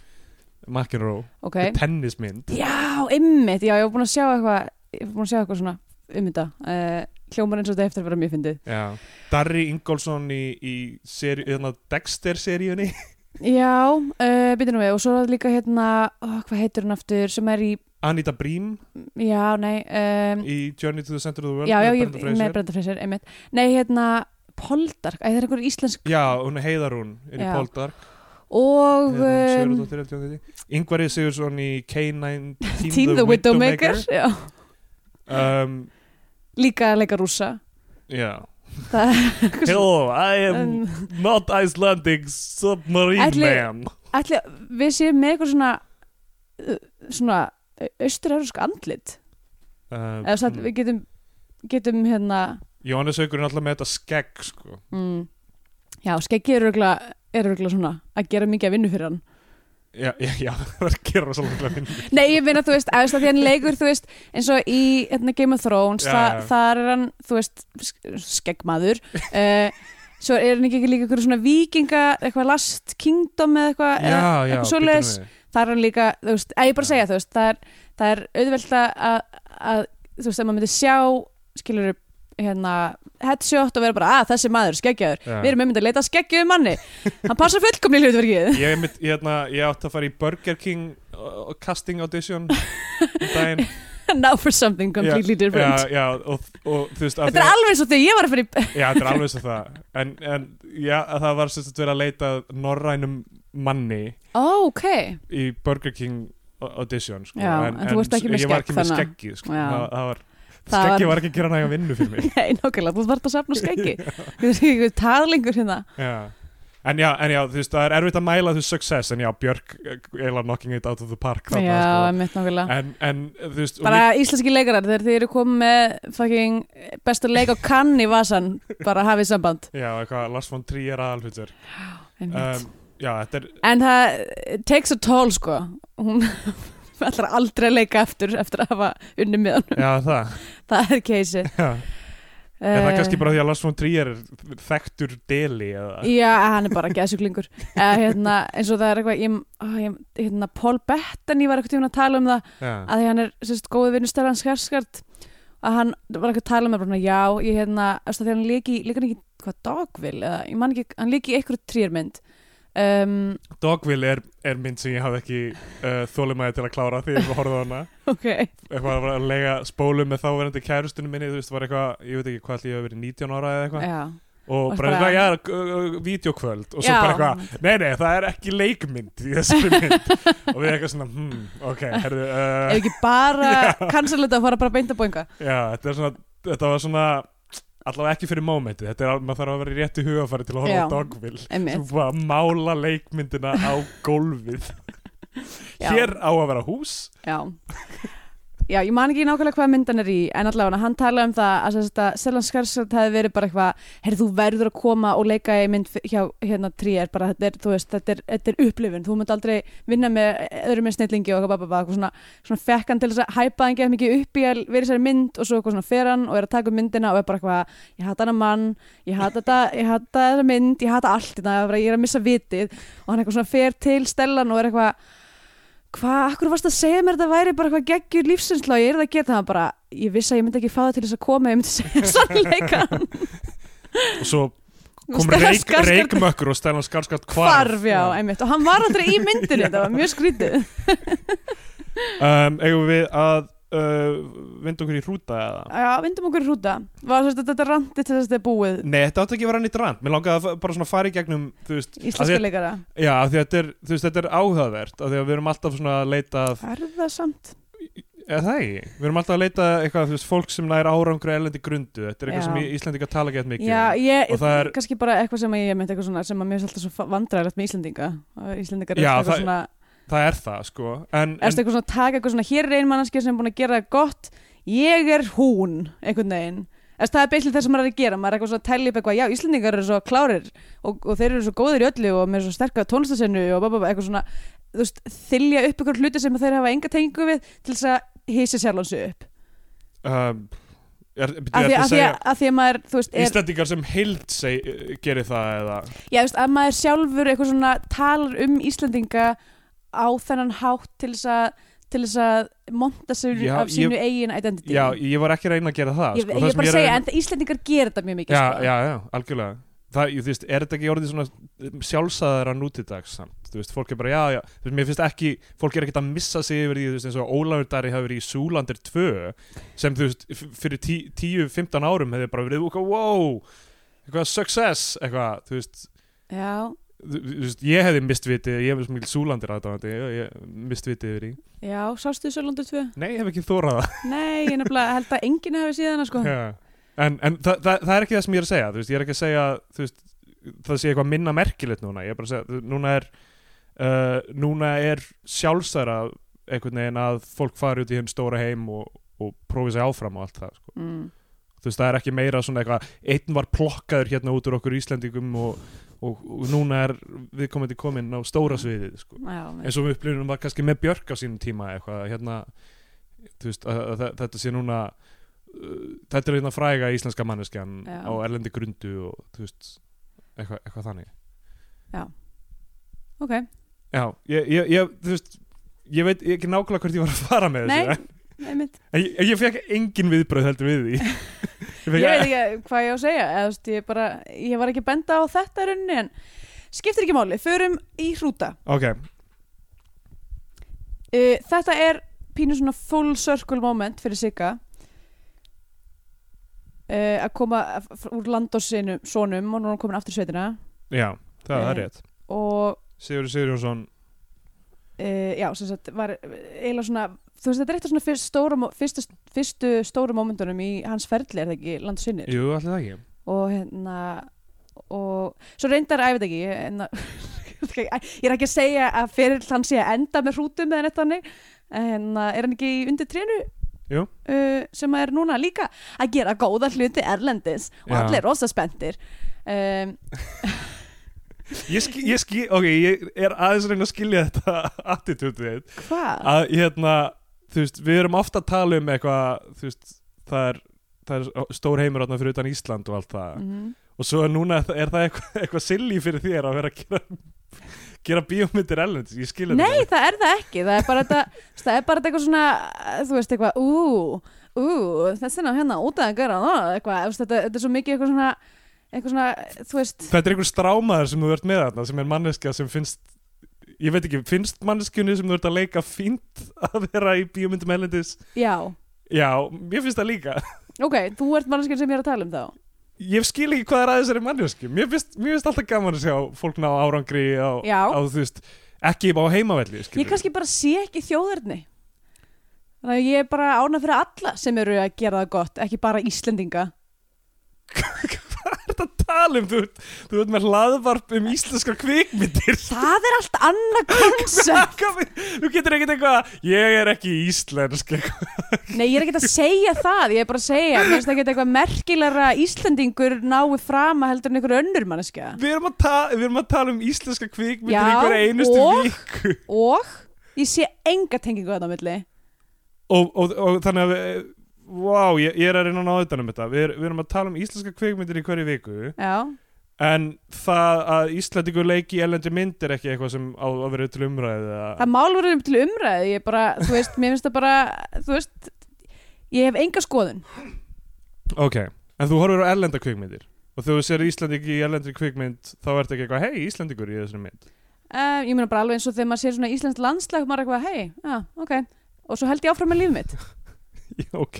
Speaker 2: McEnroe
Speaker 3: Ok
Speaker 2: okay. tennismynd
Speaker 3: Já, ymmit, já, ég var búin að sjá eitthvað ég var búin að sjá eitthvað svona um þetta uh, hljómar eins og þetta eftir að vera mjög fyndið
Speaker 2: Já. Darri Ingolson í, í seri, hérna, þarna Dexter-seríunni
Speaker 3: eh, Já, uh, býtum við og svo er líka hérna, ó, hvað heitir hún aftur sem er í
Speaker 2: Anita Brím
Speaker 3: já, nei um,
Speaker 2: í Journey to the Center of the World
Speaker 3: já, já, ég,
Speaker 2: Brenda Fraser.
Speaker 3: með Brenda Fraser, einmitt nei, hérna, Poldark, æ, það er einhver íslensk
Speaker 2: já, hún heiðar hún inn í
Speaker 3: Já.
Speaker 2: Poldark
Speaker 3: og um,
Speaker 2: Hérna, Yngvari Sigursson í K-9
Speaker 3: Team the Widowmaker já,
Speaker 2: um,
Speaker 3: líka að leika rúsa
Speaker 2: Já
Speaker 3: Það
Speaker 2: Hello, I am
Speaker 3: Um,
Speaker 2: not Icelandic submarine
Speaker 3: Ætli-
Speaker 2: man
Speaker 3: ætli, við séum með eitthvað svona uh, svona austur-eurósk andlit
Speaker 2: uh,
Speaker 3: eða satt, við getum getum hérna
Speaker 2: Jóhannes Haugur er alltaf með þetta skegg sko.
Speaker 3: mm, já, skeggi er örgla er örgla svona að gera mikið að vinnu fyrir hann
Speaker 2: Já, já, já það er að gera svolítið minn
Speaker 3: nei, ég meina, þú veist, að því að hann leikur þú veist, eins og í hérna, Game of Thrones
Speaker 2: Já,
Speaker 3: þa
Speaker 2: já.
Speaker 3: þar er hann, þú veist sk- skeggmaður uh, svo er hann ekki líka eitthvað svona vikinga eitthvað last kingdom eða eitthvað
Speaker 2: Já,
Speaker 3: eða
Speaker 2: já,
Speaker 3: eitthvað
Speaker 2: býtum
Speaker 3: svoleiðis
Speaker 2: við.
Speaker 3: það er hann líka, þú veist, að ég bara
Speaker 2: Já.
Speaker 3: segja þú veist, það er, það er auðvelt að, að þú veist, ef maður myndi sjá skilur hérna headshot og vera bara, að þessi maður, er skeggjaður
Speaker 2: Já.
Speaker 3: við erum einmitt að leita að skeggjuðu manni hann passa fullkomni í hlutverkið
Speaker 2: Ég, einmitt, ég, hérna, ég átti að fara í Burger King uh, casting audition um daginn
Speaker 3: now for something completely different
Speaker 2: já, já, og, og þú veist af
Speaker 3: þetta
Speaker 2: því
Speaker 3: er
Speaker 2: að-
Speaker 3: alveg svo þegar ég var að fyrir
Speaker 2: Já, þetta er alveg svo það En, en já, það var sérst að vera að leita að norrænum manni
Speaker 3: oh, ok,
Speaker 2: í Burger King audition sko.
Speaker 3: Já, en þú varst ekki með
Speaker 2: ég var
Speaker 3: skegg
Speaker 2: ekki með
Speaker 3: þannig að-
Speaker 2: skeggi sko.
Speaker 3: Já.
Speaker 2: það, það var,
Speaker 3: Það
Speaker 2: skeggi
Speaker 3: var-
Speaker 2: var ekki að gera næga vinnu fyrir mig
Speaker 3: nei, nákvæmlega þú þarf að safna skeggi við erum ekki taðlingur hérna
Speaker 2: já. En, já, en já, þú veist, það er erfitt að mæla þú success en já, Björk eh, eiginlega knocking it out of the park þarna,
Speaker 3: já, einmitt nákvæmlega
Speaker 2: sko. en, en þú veist og
Speaker 3: bara íslenski leikarar þegar þið eru komið með fucking bestu leik á kann í vasan bara hafið samband
Speaker 2: lík- já, eitthvað, Lars von Trier aðalhutur
Speaker 3: um,
Speaker 2: um, já, þetta er
Speaker 3: en það it takes a toll sko hún ætlar aldrei að leika aftur eftir að hafa unni með hann
Speaker 2: já, það,
Speaker 3: það er Eh. keisi
Speaker 2: já. En
Speaker 3: Um,
Speaker 2: það er kannski bara því að Lars von Trier er þekktur deli eða
Speaker 3: já, hann er bara geðsuglingur uh, hérna, eins og það er eitthvað ég, ó, ég, hérna, Paul Bettany var eitthvað tíma að tala um það
Speaker 2: já,
Speaker 3: að því hann er sérst góði vinnu Stellan Skarsgård að hann var ekki að tala með bara já, ég hérna, eftir því hann líki líka hann ekki, hvað, Dogville eða, ég man ekki, hann líki í einhverju trýrmynd um,
Speaker 2: Dogville er, er mynd sem ég hafði ekki uh, þólimaði til að klára því ég horfði á hana
Speaker 3: ok,
Speaker 2: eitthvað að vera að lega spólu með þáverandi kærustunum minni, þú veist, var eitthvað ég veit ekki hvað allir ég hef verið 19 ára eða eitthvað
Speaker 3: já
Speaker 2: og
Speaker 3: Varst
Speaker 2: bara,
Speaker 3: bara-
Speaker 2: eitthvað, já, g- g- vídeokvöld og svo
Speaker 3: Já.
Speaker 2: bara eitthvað, nei, nei, það er ekki leikmynd í þessari mynd og við eitthvað svona, hmm, ok, herðu
Speaker 3: ef
Speaker 2: uh,
Speaker 3: ekki bara cancel þetta og fara bara beint að bóinga
Speaker 2: já, þetta er svona þetta var svona, allavega ekki fyrir mómentið þetta er, al- maður þarf að vera í réttu hugafæri til að horfa
Speaker 3: Já.
Speaker 2: á Dogville
Speaker 3: einmitt,
Speaker 2: Svo bara að mála leikmyndina á gólfið
Speaker 3: Já.
Speaker 2: Hér á að vera hús
Speaker 3: já Já, ég man ekki nákvæmlega hvað myndan er í en allavega hann talaði um það að sérst að Stellan Skarsgård hefði verið bara eitthvað heyrðu, þú verður að koma og leika í mynd f- hjá hérna tríjar, bara þetta er, þú veist, þetta er, þetta er upplifun, þú munt aldrei vinna með öðrum með snillingi og eitthvað, eitthvað, eitthvað svona, svona fekk hann til þess að hæpa hann geða mikið upp í að vera í þessari mynd og svo eitthvað svona fer hann og er að taka upp myndina og er bara eitthvað, ég hata hann mann ég hata þetta, ég hata þessa mynd ég hata allt þetta, bara ég er að missa vitið og hann eitthvað svona fer til Stellan og er eitthvað hvað, akkur varst að segja mér þetta væri bara eitthvað geggjur lífsinsla og ég er það að geta það bara, ég vissi að ég myndi ekki fá það til þess að koma, ég myndi segja sannleikan
Speaker 2: og svo kom
Speaker 3: Stellan
Speaker 2: reik,
Speaker 3: Skarsgård
Speaker 2: reikmökkur og Stellan Skarsgård hvarf,
Speaker 3: hvarf, já, einmitt og hann var aldrei í myndinu, þetta var mjög skrítið
Speaker 2: um, eigum við að uh, vinda okkur í hrúta eða
Speaker 3: já, vindum okkur í rúta var þess að þetta randi til þess að þetta er búið
Speaker 2: Nei, þetta átti ekki að vera nýtt rand Mér langaði að fa- bara svona fara í gegnum þú veist, af því
Speaker 3: íslenska
Speaker 2: að,
Speaker 3: leikara,
Speaker 2: já, af því að þetta er, þú veist, þetta er áhugavert af því að við erum alltaf svona að leita að
Speaker 3: er það samt
Speaker 2: eða það ekki, við erum alltaf að leita að eitthvað, þú veist, fólk sem nær árangur erlendi grundu þetta er eitthvað
Speaker 3: Já.
Speaker 2: sem í- Íslendingar tala ekki mikið
Speaker 3: já,
Speaker 2: um.
Speaker 3: ég,
Speaker 2: Og það er-
Speaker 3: kannski bara eitthvað sem ég myndi eitthvað svona sem að mér finnst alltaf svo vandræðilegt með Íslendinga Að Íslendingar er
Speaker 2: Já,
Speaker 3: alltaf
Speaker 2: það-
Speaker 3: eitthvað svona
Speaker 2: það er það, sko en, en,
Speaker 3: erstu eitthvað svona að taka eitthvað svona hér er ein mannskja sem er búin að gera það gott ég er hún, einhvern veginn Erst, það er beislega það sem maður er að gera, maður er eitthvað svona að tellja upp eitthvað, já, Íslendingar eru svo klárir og, og þeir eru svo góðir í öllu og með svo sterka tónlistasennu og bá, bá, bá, eitthvað svona þú veist, þylja upp eitthvað hluti sem þeir hafa enga tengingu við til þess að hýsa sjálfansu upp
Speaker 2: um, er, byrju,
Speaker 3: af
Speaker 2: ertu að
Speaker 3: því, af, því
Speaker 2: segja-
Speaker 3: að, af því að maður, þú veist, er,
Speaker 2: Íslandingar sem heild seg, gerir það eða
Speaker 3: já, þú veist, að maður sjálfur eitthvað svona talar um Íslendinga á þennan hátt til þess að til þess að monta sig
Speaker 2: Já,
Speaker 3: af sínu eigin identity
Speaker 2: Já, ég var ekki að reyna að gera það
Speaker 3: ég,
Speaker 2: sko.
Speaker 3: ég
Speaker 2: það
Speaker 3: er
Speaker 2: sem
Speaker 3: bara að
Speaker 2: er
Speaker 3: segja,
Speaker 2: reyna-
Speaker 3: en það Íslendingar gera þetta mjög mikið
Speaker 2: Já,
Speaker 3: sko.
Speaker 2: já, já, algjörlega það, ég, þú veist, er þetta ekki orðið svona um, sjálfsæðara nútidags samt, þú veist, fólk er bara, já, já, þú veist, mér finnst ekki fólk er ekkert að missa sig yfir því, þú veist, eins og Ólafur Dari hafi verið í Súlandir 2 sem, þú veist, f- fyrir 10-15 árum hefði bara verið, okkar, wow eitthvað, success, eitthvað, þú veist
Speaker 3: já,
Speaker 2: þú, þú veist, ég hefði mist vitið, ég hefði svo mikil Súlandir aðdáðandi, ég, ég mist vitið yfir því
Speaker 3: já, sástu Sörlandu 2?
Speaker 2: nei, ég hef ekki þórað það
Speaker 3: Nei, ég nefnilega held að enginn hafi síðan hana, sko.
Speaker 2: Já. en, en það, það, það er ekki það sem ég er að segja þú veist, ég er ekki að segja þú veist, það sé eitthvað minna merkilegt núna ég er bara að segja, þú- núna er uh, núna er sjálfsæra einhvern veginn að fólk fari út í hinn stóra heim og, og prófi sig áfram og allt það sko.
Speaker 3: Mm.
Speaker 2: þú veist, það er ekki meira svona eitthvað einn var plokkaður hérna út úr okkur Íslendingum og, og, og núna er viðkomandi komin á stóra sviðið sko
Speaker 3: Já, með,
Speaker 2: eins og upplifunum var kannski með Björk á sínum tíma eitthvað, hérna þú veist, að, að, að þetta sé núna uh, þetta er hérna fræga íslenska manneskjan
Speaker 3: Já.
Speaker 2: á erlendi grundu og þú veist, eitthvað, eitthvað þannig
Speaker 3: ok.
Speaker 2: já, ég, ég, ég, þú veist ég veit ekki nákvæmlega hvert ég var að fara með
Speaker 3: Nei,
Speaker 2: þessu
Speaker 3: einmitt.
Speaker 2: en ég, ég fekk engin viðbröð heldur við því ég
Speaker 3: Ég
Speaker 2: fekk
Speaker 3: veit ekki hvað ég á að segja, eða þú veist, ég bara, ég var ekki að benda á þetta í rauninni, en skiptir ekki máli, förum í hrúta.
Speaker 2: ok,
Speaker 3: Uh, þetta er pínu svona full circle moment fyrir Sigga. Uh, að koma f- f- úr landossinum, sonum, og nú er hún komin aftur í sveitina.
Speaker 2: já, það, það er
Speaker 3: Eh.
Speaker 2: rétt
Speaker 3: Og
Speaker 2: Sigurður Sigurjónsson
Speaker 3: uh, já, sem sagt, var eh, eiginlega svona, þú veist, þetta er eitt af svona fyrst stóra, mo- fyrstu, fyrstu stóru momentunum í hans ferli, er það ekki, land og sinnir
Speaker 2: jú, allir það ekki
Speaker 3: og hérna og svo reyndar, æ, ég veit ekki ég, hérna, ég er ekki að segja að fyrir hann sé að enda með hrútum eða neitt þannig, en hérna, er hann ekki í undir trénu?
Speaker 2: Jú.
Speaker 3: Uh, sem er núna líka að gera góða hluti erlendis og
Speaker 2: Já.
Speaker 3: allir rosa spenntir um,
Speaker 2: ég, ski, ég, ski, ok, ég er aðeins að reyna að skilja þetta attitútið þitt
Speaker 3: hvað?
Speaker 2: að hérna, þú veist, við erum ofta að tala um eitthvað, þú veist, það er, það er stór heimur átna fyrir utan Ísland og allt það
Speaker 3: Mhm.
Speaker 2: og svo er núna er það eitthvað, eitthvað silly fyrir þér að vera að gera, gera bíómyndir ellendis, ég skilja
Speaker 3: Nei, það er það ekki, það er bara þetta það er bara þetta eitthvað svona, þú veist, eitthvað ú, ú, þessi ná hérna út að gera það, eitthvað, þú veist, þetta, þetta er svo mikið eitthvað svona, eitthvað svona þú veist,
Speaker 2: Þetta er einhver strámaður sem þú ert með þarna sem er manneskja sem finnst ég veit ekki, finnst manneskjunni sem þú ert að leika fínt að vera í bíómyndum ellendis
Speaker 3: já
Speaker 2: Já, mér finnst það líka
Speaker 3: ok, þú ert mannskjörn sem ég er að tala um þá
Speaker 2: Ég skil ekki hvað er að þessari manneskju Mér finnst, mér finnst alltaf gaman að sjá fólk ná árangri á,
Speaker 3: Já.
Speaker 2: á þú veist, ekki á heimavelli skilurðu.
Speaker 3: ég kannski bara sé ekki þjóðurni þannig að ég er bara ána fyrir alla sem eru að gera það gott, ekki bara Íslendinga
Speaker 2: ert að tala um, þú ert, þú ert með hlaðvarp um íslenskar kvikmyndir
Speaker 3: það er allt annað koncept
Speaker 2: Hvað- þú getur ekkert eitthvað ég er ekki íslensk eitthvað.
Speaker 3: nei, ég er ekki að segja það, ég er bara að segja mér finnst ekki eitthvað merkilegra Íslendingur nái frama heldur en einhver önnur manneskja
Speaker 2: við erum, að ta- við erum að tala um íslenska kvikmyndir í
Speaker 3: Já,
Speaker 2: hverja einustu
Speaker 3: og-
Speaker 2: viku
Speaker 3: og ég sé enga tengingu þarna á milli
Speaker 2: og, og, og þannig að við, wow, ég, ég er að reyna að ná utan um þetta við, er- við erum að tala um íslenska kvikmyndir í hverju viku
Speaker 3: já,
Speaker 2: en það að íslendingur leiki í ellendi mynd er ekki eitthvað sem á að vera til umræði eða-
Speaker 3: það mál verður um til umræði ég bara, þú veist, mér finnst það bara þú veist, ég hef enga skoðun
Speaker 2: Ok, en þú horfir á erlenda kvikmyndir og þegar þú sér Íslanding í erlendri kvikmynd þá ertu ekki eitthvað, hei, Íslandingur í þessari mynd
Speaker 3: um, ég meina bara alveg eins og þegar maður sér svona íslenskt landslag maður er eitthvað, hei, já, ok og svo held ég áfram með líf mitt
Speaker 2: Já, Ok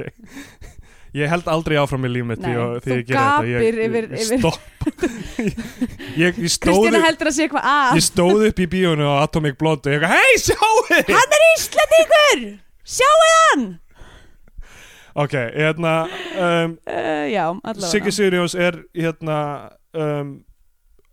Speaker 2: Ég held aldrei áfram í líf mitt því
Speaker 3: Nei,
Speaker 2: að- því
Speaker 3: þú
Speaker 2: ég gera þetta. Ég-
Speaker 3: gapir yfir-
Speaker 2: ég-
Speaker 3: yfir-
Speaker 2: Stopp Ég, ég, stóð,
Speaker 3: Kristina
Speaker 2: upp-
Speaker 3: heldur að sé eitthvað ah, að
Speaker 2: ég stóð upp í bíónu á Atomic Blonde og ég eitthvað, hei, sjáu
Speaker 3: hann er íslendingur, sjáu hann
Speaker 2: Ok, hérna um,
Speaker 3: uh, já, allavega
Speaker 2: Siggi Sigurjóns er hérna um,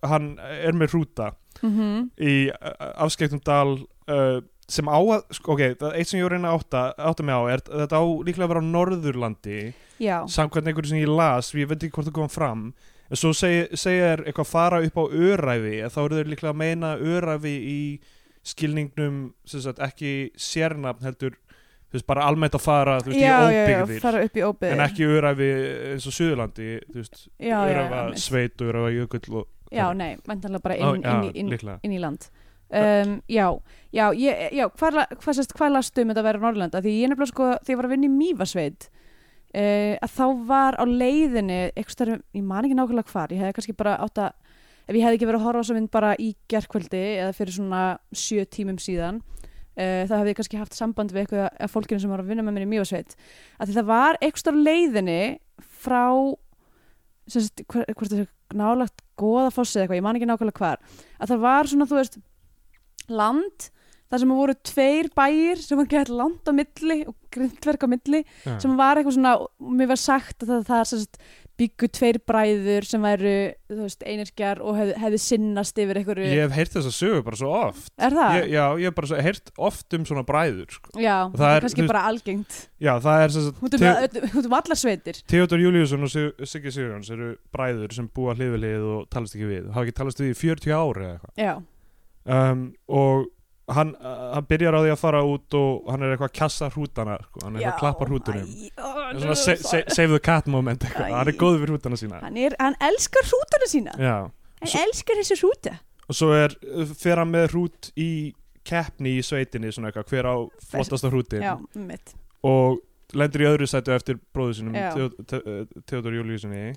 Speaker 2: hann er með hrúta
Speaker 3: Mhm.
Speaker 2: í uh, afskeittum dal uh, sem á að, sko, ok, það eitt sem ég var að reyna að átta, átta mig á er þetta á líklega að vera á Norðurlandi
Speaker 3: já,
Speaker 2: samkvæmt einhverju sem ég las, ég veit ekki hvort það kom fram en svo seg, segja þér eitthvað fara upp á öræfi, þá eru þeir líklega að meina öræfi í skilningnum sem sagt ekki sérnafn heldur, þú veist, bara almennt að fara þú veist,
Speaker 3: já,
Speaker 2: í
Speaker 3: já, já,
Speaker 2: óbyggðir
Speaker 3: fara upp í óbyggðir
Speaker 2: en ekki öræfi eins og Suðurlandi þú veist,
Speaker 3: já, já, já,
Speaker 2: öræfa
Speaker 3: einmitt.
Speaker 2: sveit og öræfa jökull og,
Speaker 3: já, nei, mæntanlega bara
Speaker 2: Ó,
Speaker 3: inn,
Speaker 2: já,
Speaker 3: inn, í- inn,
Speaker 2: líklega
Speaker 3: inn í land um, já, já, ég, já hvað, la- hvað, sérst, hvað lastu um þetta að vera á Norrlanda því ég nefnilega sko, þegar ég var að vinna í Mývasveit uh, að þá var á leiðinni eitthvað stærðum, ég man ekki nákvæmlega hvar ég hefði kannski bara átt að ef ég hefði ekki verið að horfa á þessa mynd bara í gerkvöldi eða fyrir svona sjö tímum síðan uh, þá hefði ég kannski haft samband við eitthvað af fólkinu sem var að vinna með mér í mjögsveit að þetta var eitthvað stærðum leiðinni frá sem sagt, hver- hvort það er nálagt goðafossi eða eitthvað, ég man ekki nákvæmlega hvar að það var svona, þú veist land, þar sem voru tveir bæir sem var gett land á milli og grindverk á milli
Speaker 2: Já.
Speaker 3: sem var eitthvað svona, mér var sagt að það, það er sem sagt, byggu tveir bræður sem væru, þú veist, einirkjar og hefði, hefði sinnast yfir einhverju
Speaker 2: Ég hef heyrt þessa sögu bara svo oft
Speaker 3: er það?
Speaker 2: ég, Já, ég hef bara svo, heyrt oft um svona bræður sko.
Speaker 3: já,
Speaker 2: það
Speaker 3: það
Speaker 2: er,
Speaker 3: er kannski
Speaker 2: þú veist-
Speaker 3: bara algengt
Speaker 2: Já, það er sem
Speaker 3: út um,
Speaker 2: Te-
Speaker 3: Te... út um allar sveitir
Speaker 2: Theodor Júliusson og Sig- Siggi Sigurjóns eru bræður sem búa hliðvilið og talast ekki við hafa ekki talast við í 40 ári eða eitthvað
Speaker 3: já,
Speaker 2: um, og hann, uh, hann byrjar á því að fara út og hann er eitthvað að kassa hrútana sko. hann er
Speaker 3: já
Speaker 2: eitthvað að klappa hrútunum
Speaker 3: æ, ó,
Speaker 2: Það er svona se se save the cat moment eitthvað,
Speaker 3: Æ.
Speaker 2: hann er góð við hrútana sína
Speaker 3: hann, er, hann elskar hrútuna sína
Speaker 2: Já,
Speaker 3: hann
Speaker 2: Svo-
Speaker 3: elskar þessu hrúta
Speaker 2: og svo er, fer hann með hrút í keppni í sveitinni svona eitthvað, hver á flottasta hrútin
Speaker 3: já, mitt
Speaker 2: og lendir í öðru sætu eftir bróðu sínum
Speaker 3: Já.
Speaker 2: Theo- Te- eh, Theodor Júliusinni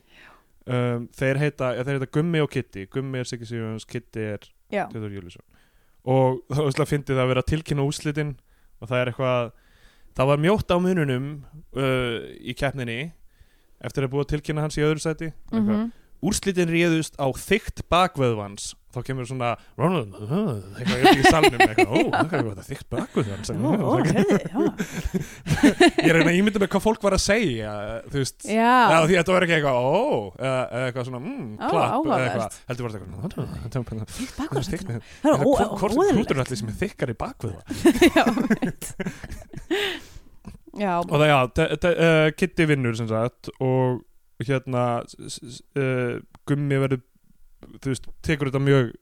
Speaker 2: um, þeir, heita, ja, þeir heita Gummi og Kitty Gummi er Siggi Sigurjóns, Kitty er
Speaker 3: já,
Speaker 2: Theodor Júliusson og það var úslega fyndið að vera að tilkynna úslitin og það er eitthvað það var mjótt á mununum uh, í keppninni eftir að búa að tilkynna hans í öðru sæti
Speaker 3: mm
Speaker 2: mm úrslitin réðust á þygt bakvöðvans þá kemur svona Ronald, uh, eitthvað upp í salnum eitthvað, ó, það er eitthvað þygt bakvöðvans
Speaker 3: ó, ó, heyrðu, já.
Speaker 2: ég reyna að ímynda með hvað fólk var að segja þú veist Já,
Speaker 3: Já,
Speaker 2: því að þetta var ekki eitthvað, ó, eða eða eitthvað svona, mm,
Speaker 3: Ó,
Speaker 2: klapp, eða
Speaker 3: áhugavert.
Speaker 2: eitthvað, heldur var þetta eitthvað, þetta var eitthvað,
Speaker 3: bakvörðsættina
Speaker 2: þygt,
Speaker 3: Það er
Speaker 2: Hvort- Hvort er
Speaker 3: óðurlegt
Speaker 2: hrútur allir sem er þykkar í bakvið
Speaker 3: Já, mitt Já,
Speaker 2: Og það já, te- te- eh, Kitty vinnur sem sagt og hérna s- s- eh, Gummi verður þú veist, tekur þetta mjög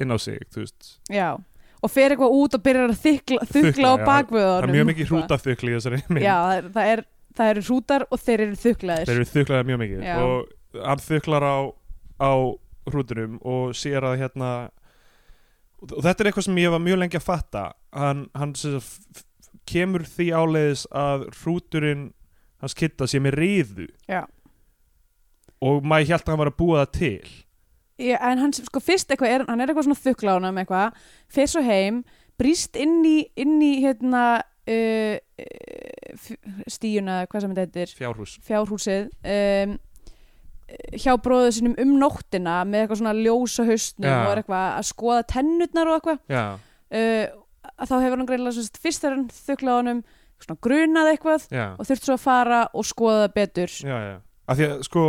Speaker 2: inn á sig, þú veist
Speaker 3: já Og fer eitthvað út og byrjar að þykla, þykla
Speaker 2: já.
Speaker 3: á
Speaker 2: Það
Speaker 3: bakvöðunum
Speaker 2: er mjög mikið hrútaþukli í þessari mynd
Speaker 3: Já, það er, það, er, það eru hrútar og þeir eru þuklaðir
Speaker 2: Þeir eru þuklaðið mjög mikið
Speaker 3: Já.
Speaker 2: og hann þuklar á, á hrúturum og sér að hérna og þetta er eitthvað sem ég var mjög lengi að fatta hann, hann sem sagt, f- f- kemur því áleiðis að hrúturinn hans kitta sé með riðu
Speaker 3: Já.
Speaker 2: og maður held að hann var að búa það til
Speaker 3: Já, En hann sko fyrst eitthvað er, hann er eitthvað svona þukla á honum eitthvað, fer svo heim brýst inn í, inn í hérna uh, uh, f- stíuna, hvað sem þetta heitir
Speaker 2: fjárhús
Speaker 3: fjárhúsið um, hjá bróðu sínum um nóttina með eitthvað svona ljósa haustnum
Speaker 2: Já.
Speaker 3: og er eitthvað að skoða tennutnar og eitthvað
Speaker 2: Já,
Speaker 3: uh, að þá hefur hann greinlega sérst, fyrst þegar hann þuklaði honum svona grunað eitthvað
Speaker 2: já,
Speaker 3: og þurft svo að fara og skoða það betur
Speaker 2: já, já Af því að sko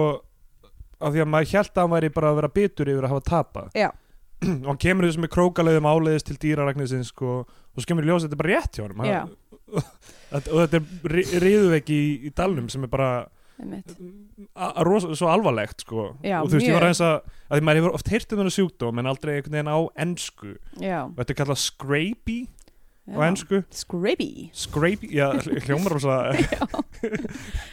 Speaker 2: af því að maður held að hann væri bara að vera bitur yfir að hafa tapað
Speaker 3: Já.
Speaker 2: og hann kemur þessum með krókaleiðum áleiðis til dýraragnisins sko, og svo kemur í ljós að þetta er bara rétt hjá honum
Speaker 3: Já.
Speaker 2: Hann- Þetta- og þetta er riðuveiki í, í dalnum sem er bara
Speaker 3: einmitt.
Speaker 2: a- a- rosa, svo alvarlegt sko.
Speaker 3: Já,
Speaker 2: og þú veist, ég var
Speaker 3: mjög.
Speaker 2: aðeins að, að því maður hefur oft heyrt um þennan sjúkdóm en aldrei einhvern veginn á ensku
Speaker 3: já,
Speaker 2: og þetta er kallað scrapey á
Speaker 3: já.
Speaker 2: ensku
Speaker 3: Scrappy
Speaker 2: scrapey, já, hljómar rosa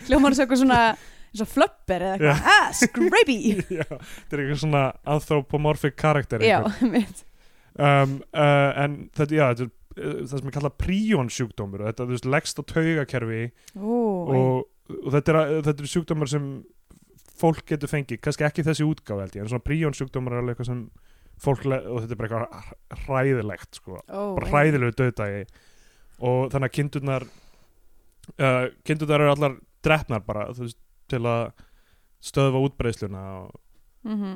Speaker 3: hljóman svo eitthvað svona eins og flöpper eða eitthvað ah, Scrappy
Speaker 2: já, þetta er eitthvað svona anthropomorphic karakter
Speaker 3: já,
Speaker 2: einhver.
Speaker 3: einmitt.
Speaker 2: um, uh, en þetta, já, þetta er uh, það sem er kallað príón sjúkdómur og þetta þú veist, leggst á taugakerfi
Speaker 3: Ó,
Speaker 2: og, og þetta, er, uh, þetta er sjúkdómur sem fólk getur fengið, kannski ekki þessi útgáfa held ég, en svona príón sjúkdómur er alveg eitthvað sem fólk, le- og þetta er bara eitthvað hræðilegt, sko,
Speaker 3: ó,
Speaker 2: bara
Speaker 3: einmitt.
Speaker 2: hræðilegu döðdagi og þannig að kindurnar uh, kindurnar eru allar drefnar bara, þú veist, til að stöðva útbreysluna og
Speaker 3: Mhm.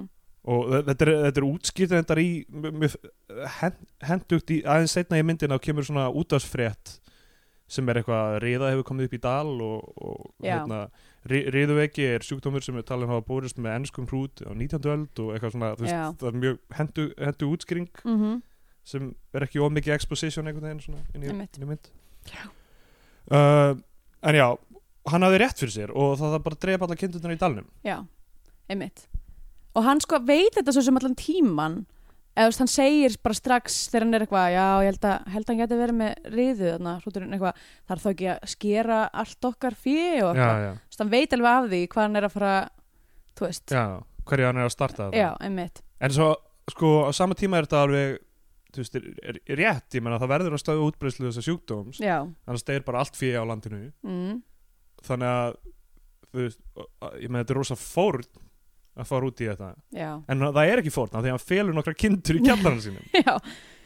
Speaker 2: og þe- þetta er, þetta er útskýrt þetta í m- mér f- hen- hendugt í aðeins setna í myndina og kemur svona útafsfrétt sem er eitthvað að riða hefur komið upp í dal og, og
Speaker 3: Já.
Speaker 2: hérna ri- riðuveiki er sjúkdómur sem er talin hafa borist með ennskum hrút á 19. öld og eitthvað svona, þú
Speaker 3: Já.
Speaker 2: veist, það er mjög hendu, hendu útskýring
Speaker 3: Mhm.
Speaker 2: sem er ekki of mikið exposition einhvern veginn svona inn í,
Speaker 3: Einmitt.
Speaker 2: inn í mynd uh, en já, hann hafði rétt fyrir sér og það, það bara drepa alla kindurnar í dalnum
Speaker 3: Já, einmitt Og hann sko veit þetta svo sem allan tíman eða þú veist, hann segir bara strax þegar hann er eitthvað, já, ég held að, held að hann geti verið með riðu þarna, hrúturinn eitthvað þarf þá ekki að skera allt okkar fjö og eitthvað,
Speaker 2: já,
Speaker 3: þú veist, hann veit alveg af því hvað hann er að fara, þú veist
Speaker 2: já, hverju hann er að starta þetta
Speaker 3: já einmitt,
Speaker 2: En svo, sko, á sama tíma er þetta alveg þú veist, er, er rétt, ég menna það verður að stöðu útbreyslu þessa sjúkdóms,
Speaker 3: já
Speaker 2: annars það er bara allt fyrir á landinu,
Speaker 3: mm,
Speaker 2: þannig að þú veist, og- að- ég með þetta er rosa fórn að fara út í þetta
Speaker 3: já,
Speaker 2: en það er ekki fórn af því að hann felur nokkra kindur í kjallarinn sínum
Speaker 3: já,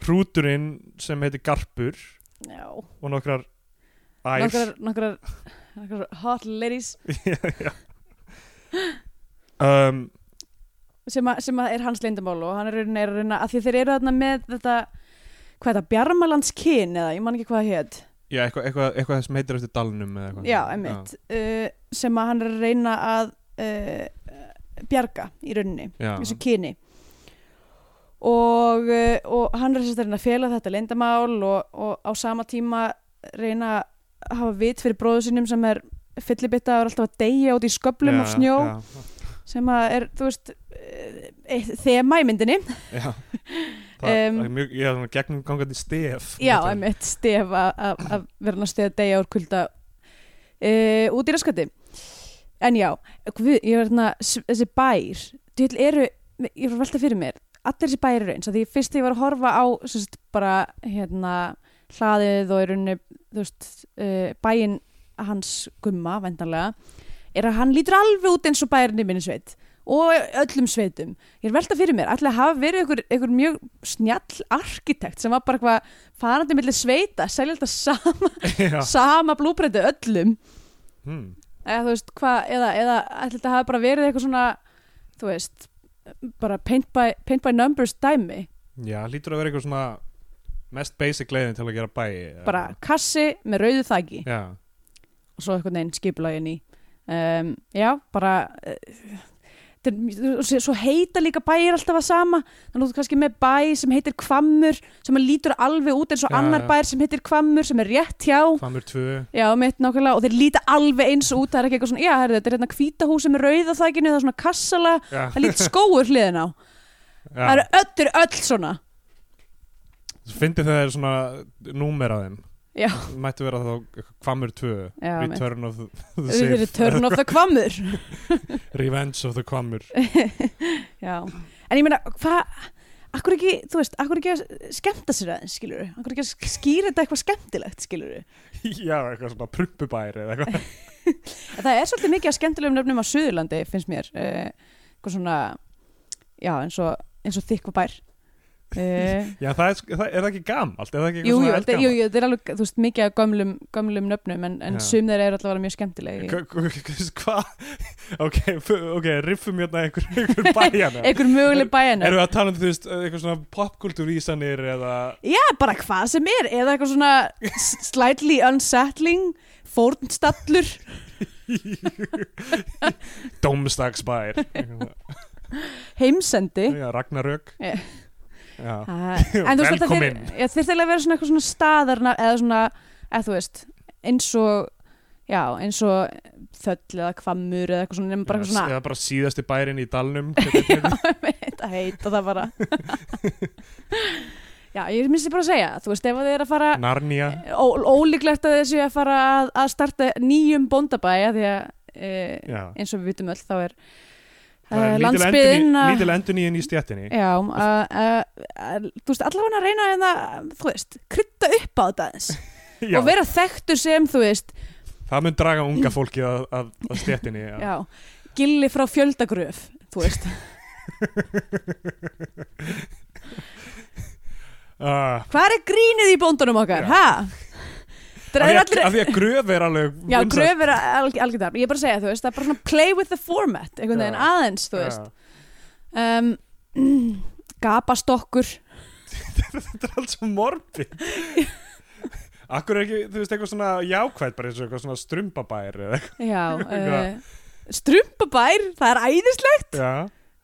Speaker 2: hrúturinn sem heitir Garpur
Speaker 3: já.
Speaker 2: og nokkrar ærs
Speaker 3: Nokkrar, nokkrar, nokkrar hot ladies
Speaker 2: Já. um,
Speaker 3: sem, að, sem að er hans leyndamál og hann er raunin er raunin að því þeir eru þarna með þetta hvað er þetta, Bjarmalandskyn eða ég man ekki hvað það hétt
Speaker 2: já, eitthvað eitthva, eitthva sem heitir eftir dalnum eða eitthvað.
Speaker 3: já, emitt, uh, sem að hann er að reyna að uh, bjarga í rauninni,
Speaker 2: Já.
Speaker 3: þessu kyni og, uh, og hann er sérst að reyna að fela þetta leyndamál og, og á sama tíma reyna að hafa vit fyrir bróðu sínum sem er fyllibitta og er alltaf að deyja út í sköplum
Speaker 2: Já,
Speaker 3: af snjó
Speaker 2: já,
Speaker 3: sem að er, þú veist eh, eitt þema í myndinni
Speaker 2: já. Það,
Speaker 3: Um,
Speaker 2: það er mjög, já, svona gegnum gangandi stef
Speaker 3: já,
Speaker 2: Þetta er-
Speaker 3: einmitt stef að- að að vera hann að steða degja úr kulda uh, út í raskati en já, við, ég var þarna s- þessi bær, þú vil eru ég var að velta fyrir mér, allir þessi bæri raun því fyrst þegar ég var að horfa á sem sagt, bara hérna hlaðið og í rauninni, þú veist uh, bæin hans gumma vendanlega, er að hann lítur alveg út eins og bærinni minni sveit og öllum sveitum, ég er að velta fyrir mér ætli að hafa verið einhver, einhver mjög snjall arkitekt sem var bara eitthvað farandi millir sveita, selja alltaf sama,
Speaker 2: já.
Speaker 3: sama blúbreytu öllum
Speaker 2: Hmm.
Speaker 3: eða þú veist hvað eða, eða ætli þetta hafi bara verið eitthvað svona þú veist, bara paint by, paint by numbers dæmi
Speaker 2: já, lítur að vera eitthvað svona mest basic leiðin til að gera bæi
Speaker 3: bara kassi með rauðu þagi
Speaker 2: já,
Speaker 3: og svo eitthvað neginn skipulagin í um, já, bara uh, svo heita líka bæir alltaf að sama þannig að þú ert kannski með bæ sem heitir Hvammur sem að lítur alveg út eins og
Speaker 2: Já, já.
Speaker 3: annar bæir sem heitir Hvammur sem er rétt hjá
Speaker 2: famur tvö
Speaker 3: Já, mitt nákvæmlega, og þeir líta alveg eins út, það er ekki eitthvað svona, já, herrðu, þetta er hérna hvítahúsi með rauða þækinu, það er svona kassala,
Speaker 2: já,
Speaker 3: það lít skóur hliðin á, það
Speaker 2: já.
Speaker 3: eru öllir öll svona,
Speaker 2: fyndi þegar það er svona númer að þeim
Speaker 3: Já.
Speaker 2: mættu vera þá famur tvö
Speaker 3: já, mitt,
Speaker 2: Return of the, the
Speaker 3: þeir eru
Speaker 2: Sith
Speaker 3: turn of the kvamur,
Speaker 2: Revenge of the Quamur
Speaker 3: já, en ég meina, hvað, akkur ekki, þú veist, akkur ekki að skemmta sér aðeins, skilur við, akkur ekki að skýra þetta eitthvað skemmtilegt, skilur við,
Speaker 2: Já, eitthvað svona prumpubæri eða eitthvað
Speaker 3: það er svolítið mikið að skemmtilegum nöfnum á Suðurlandi, finnst mér, eh, eitthvað svona, já, eins og, eins og þykkvabær, eh,
Speaker 2: Já, það er, það er það ekki gamalt? Er það ekki
Speaker 3: Jú, jú, þetta
Speaker 2: eitthvað
Speaker 3: er- jú, jú, þetta er alveg, þú veist, mikið af gömlum, gömlum nöfnum en, en
Speaker 2: Já.
Speaker 3: sum þeirra eru allavega mjög skemmtilegi
Speaker 2: gamalt? Hvað? Ok, fu- ok, riffum hérna einhver, einhver bæjana
Speaker 3: einhver möguleg bæjana,
Speaker 2: Erum við að tala um þú veist eitthvað svona popkultúrísanir eða
Speaker 3: ja, bara hvað sem er eða eitthvað svona s- slightly unsettling fórnstallur
Speaker 2: Dómstagsbær eitthvað.
Speaker 3: heimsendi
Speaker 2: Já, Ragnarök
Speaker 3: Já.
Speaker 2: Já,
Speaker 3: Ah, en þú veist, þetta
Speaker 2: Velkomin.
Speaker 3: þeir þurfti að vera svona eitthvað svona staðarna eða svona, eða þú veist eins og, já, eins og þöll eða kvammur eða eitthvað svona nema bara eitthvað svona,
Speaker 2: eða bara síðasti bærin í dalnum hérna,
Speaker 3: að heita það bara Já, ég minnst ég bara að segja, þú veist, ef að þið er að fara
Speaker 2: Narnia
Speaker 3: Ó, ólíklegt að þessu að fara að, að starta nýjum bóndabæja því að e,
Speaker 2: Já
Speaker 3: eins og við vitum öll þá er,
Speaker 2: Það
Speaker 3: eh,
Speaker 2: er lítil
Speaker 3: landsbyggðin
Speaker 2: endurný-
Speaker 3: að- Eh,
Speaker 2: Lítil enduníin í stjættinni
Speaker 3: já, að- að- að- þú veist, allavega að reyna en að, þú veist, krytta upp á þetta aðeins
Speaker 2: Já,
Speaker 3: og vera þekktur sem, þú veist,
Speaker 2: það mun draga unga fólki að, að, að stjættinni
Speaker 3: já, gilli frá fjöldagröf, þú veist,
Speaker 2: Ah,
Speaker 3: hvað er grínið í bóndunum okkar,
Speaker 2: Já.
Speaker 3: ha?
Speaker 2: af,
Speaker 3: Það
Speaker 2: því að,
Speaker 3: er allir,
Speaker 2: af því að gröf er alveg
Speaker 3: já,
Speaker 2: vinsælt.
Speaker 3: gröf er alg, algjörðar, ég er bara að segja, þú veist, það er bara svona play with the format, einhvern
Speaker 2: Já.
Speaker 3: veginn aðeins, þú
Speaker 2: Já.
Speaker 3: veist, um, gapastokkur,
Speaker 2: Þetta er allt svo morbid Akkur er ekki, þú veist, eitthvað svona jákvæð bara eins og eitthvað svona strumbabær eða eitthvað
Speaker 3: Já,
Speaker 2: Eitthvað.
Speaker 3: uh, strumpabær, það er æðislegt
Speaker 2: Já,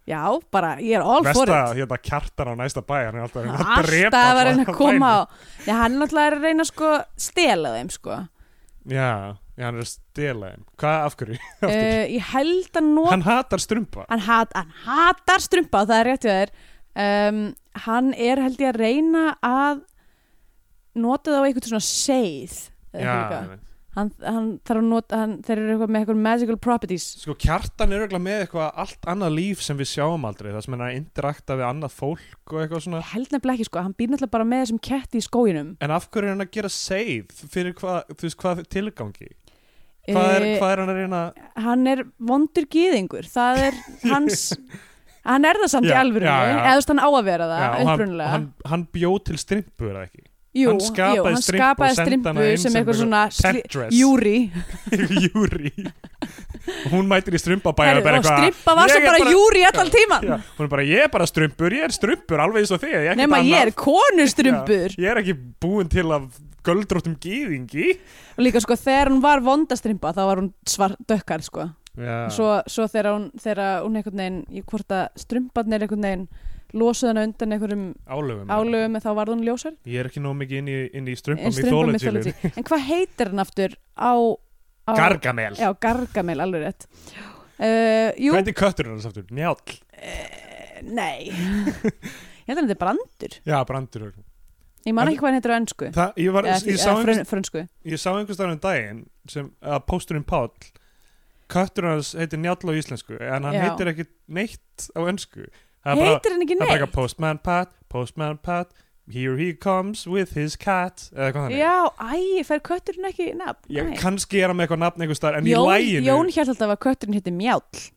Speaker 3: Já, bara, ég er all for
Speaker 2: Vesta,
Speaker 3: it
Speaker 2: hérna, kjartan á næsta bæ hann er alltaf að reyna að drepa
Speaker 3: Alltaf að
Speaker 2: alla
Speaker 3: reyna að
Speaker 2: á
Speaker 3: koma á
Speaker 2: bænum.
Speaker 3: Já, hann náttúrulega er að reyna sko að stela þeim sko
Speaker 2: Já, já, hann er að stela þeim Hvað, af hverju? Af hverju?
Speaker 3: uh, Ég held að nú
Speaker 2: Hann hatar strumpa
Speaker 3: hann, hat, hann hatar strumpa og það er rétt hjá þér um, Hann er held ég að reyna að nota það á eitthvað svona seið eða
Speaker 2: Já,
Speaker 3: eitthvað líka. hann, hann þarf að nota hann, þeir eru eitthvað með eitthvað magical properties
Speaker 2: sko kjartan er auðvitað með eitthvað allt annað líf sem við sjáum aldrei það sem er að interakta við annað fólk og eitthvað svona
Speaker 3: Ég held nefnilega ekki sko, hann býr náttúrulega bara með þessum ketti í skóginum
Speaker 2: En af hverju er hann að gera save fyrir hvað, þú veist, hvað tilgangi? Hvað er,
Speaker 3: Eh,
Speaker 2: hvað er hann að reyna
Speaker 3: hann er vondur gýðingur það er hans hann er það samt í
Speaker 2: Já,
Speaker 3: alvöru
Speaker 2: já, já.
Speaker 3: eða þú veist hann á að vera það
Speaker 2: Já, og hann, og
Speaker 3: upprunalega
Speaker 2: hann, hann bjóð til strimpu er það ekki
Speaker 3: jú,
Speaker 2: hann skapaði
Speaker 3: jú, hann
Speaker 2: strimpu og sendi hana
Speaker 3: skapaði strimpu
Speaker 2: inn
Speaker 3: sem
Speaker 2: sem
Speaker 3: eitthvað svona sli-
Speaker 2: Tetris.
Speaker 3: júri
Speaker 2: Júri Hún mætir í strumpabæði
Speaker 3: Herru, og strimpa var svo bara, júri allan tíman
Speaker 2: Já, hún er bara, ég er bara strumpur, ég er strumpur alveg eins og þig, ég er ekkert
Speaker 3: nema ég er
Speaker 2: annað."
Speaker 3: konustrumpur
Speaker 2: Já, Ég er ekki búin til af göldróttum gýðingi
Speaker 3: og líka sko þegar hún var vondastrympa þá var hún svart dökkar sko
Speaker 2: Já,
Speaker 3: svo, svo þegar hún, þegar hún einhvern veginn í hvort að strymparnir einhvern veginn losuðu hana undan einhverjum
Speaker 2: álöfum
Speaker 3: álöfum þá varð hún ljósar
Speaker 2: Ég er ekki nóg mikið inn í, inn í strumpa
Speaker 3: En Strympa
Speaker 2: mythology
Speaker 3: mythology. En hvað heitir hann aftur á, á
Speaker 2: Gargamel
Speaker 3: Já, Gargamel, alveg rétt uh, Jú, eh,
Speaker 2: Hvað er kötturinn hans aftur? Njáll
Speaker 3: nei Ég held að þetta er brandur
Speaker 2: Já, brandur
Speaker 3: Ég man ekki hvað hann heitir á ennsku
Speaker 2: Þa, ég, var,
Speaker 3: Eða
Speaker 2: ég,
Speaker 3: því-
Speaker 2: sá
Speaker 3: eða
Speaker 2: einhvers,
Speaker 3: frön- frönsku
Speaker 2: ég sá einhvers þar um daginn sem að pósturinn Páll kötturinn hans heitir Njáll á íslensku en hann
Speaker 3: Já.
Speaker 2: heitir ekki neitt á önsku
Speaker 3: Heitir hann ekki
Speaker 2: Það er bara
Speaker 3: neitt?
Speaker 2: eitthvað Postman Pat, Postman Pat Here he comes with his cat eða eitthvað þannig
Speaker 3: Já, æ, fer kötturinn ekki nafn
Speaker 2: Ég,
Speaker 3: Æ.
Speaker 2: kannski er hann með eitthvað nafn einhvers staðar en
Speaker 3: Jón,
Speaker 2: í læginu
Speaker 3: Jón hélt alltaf að kötturinn hétti Mjáll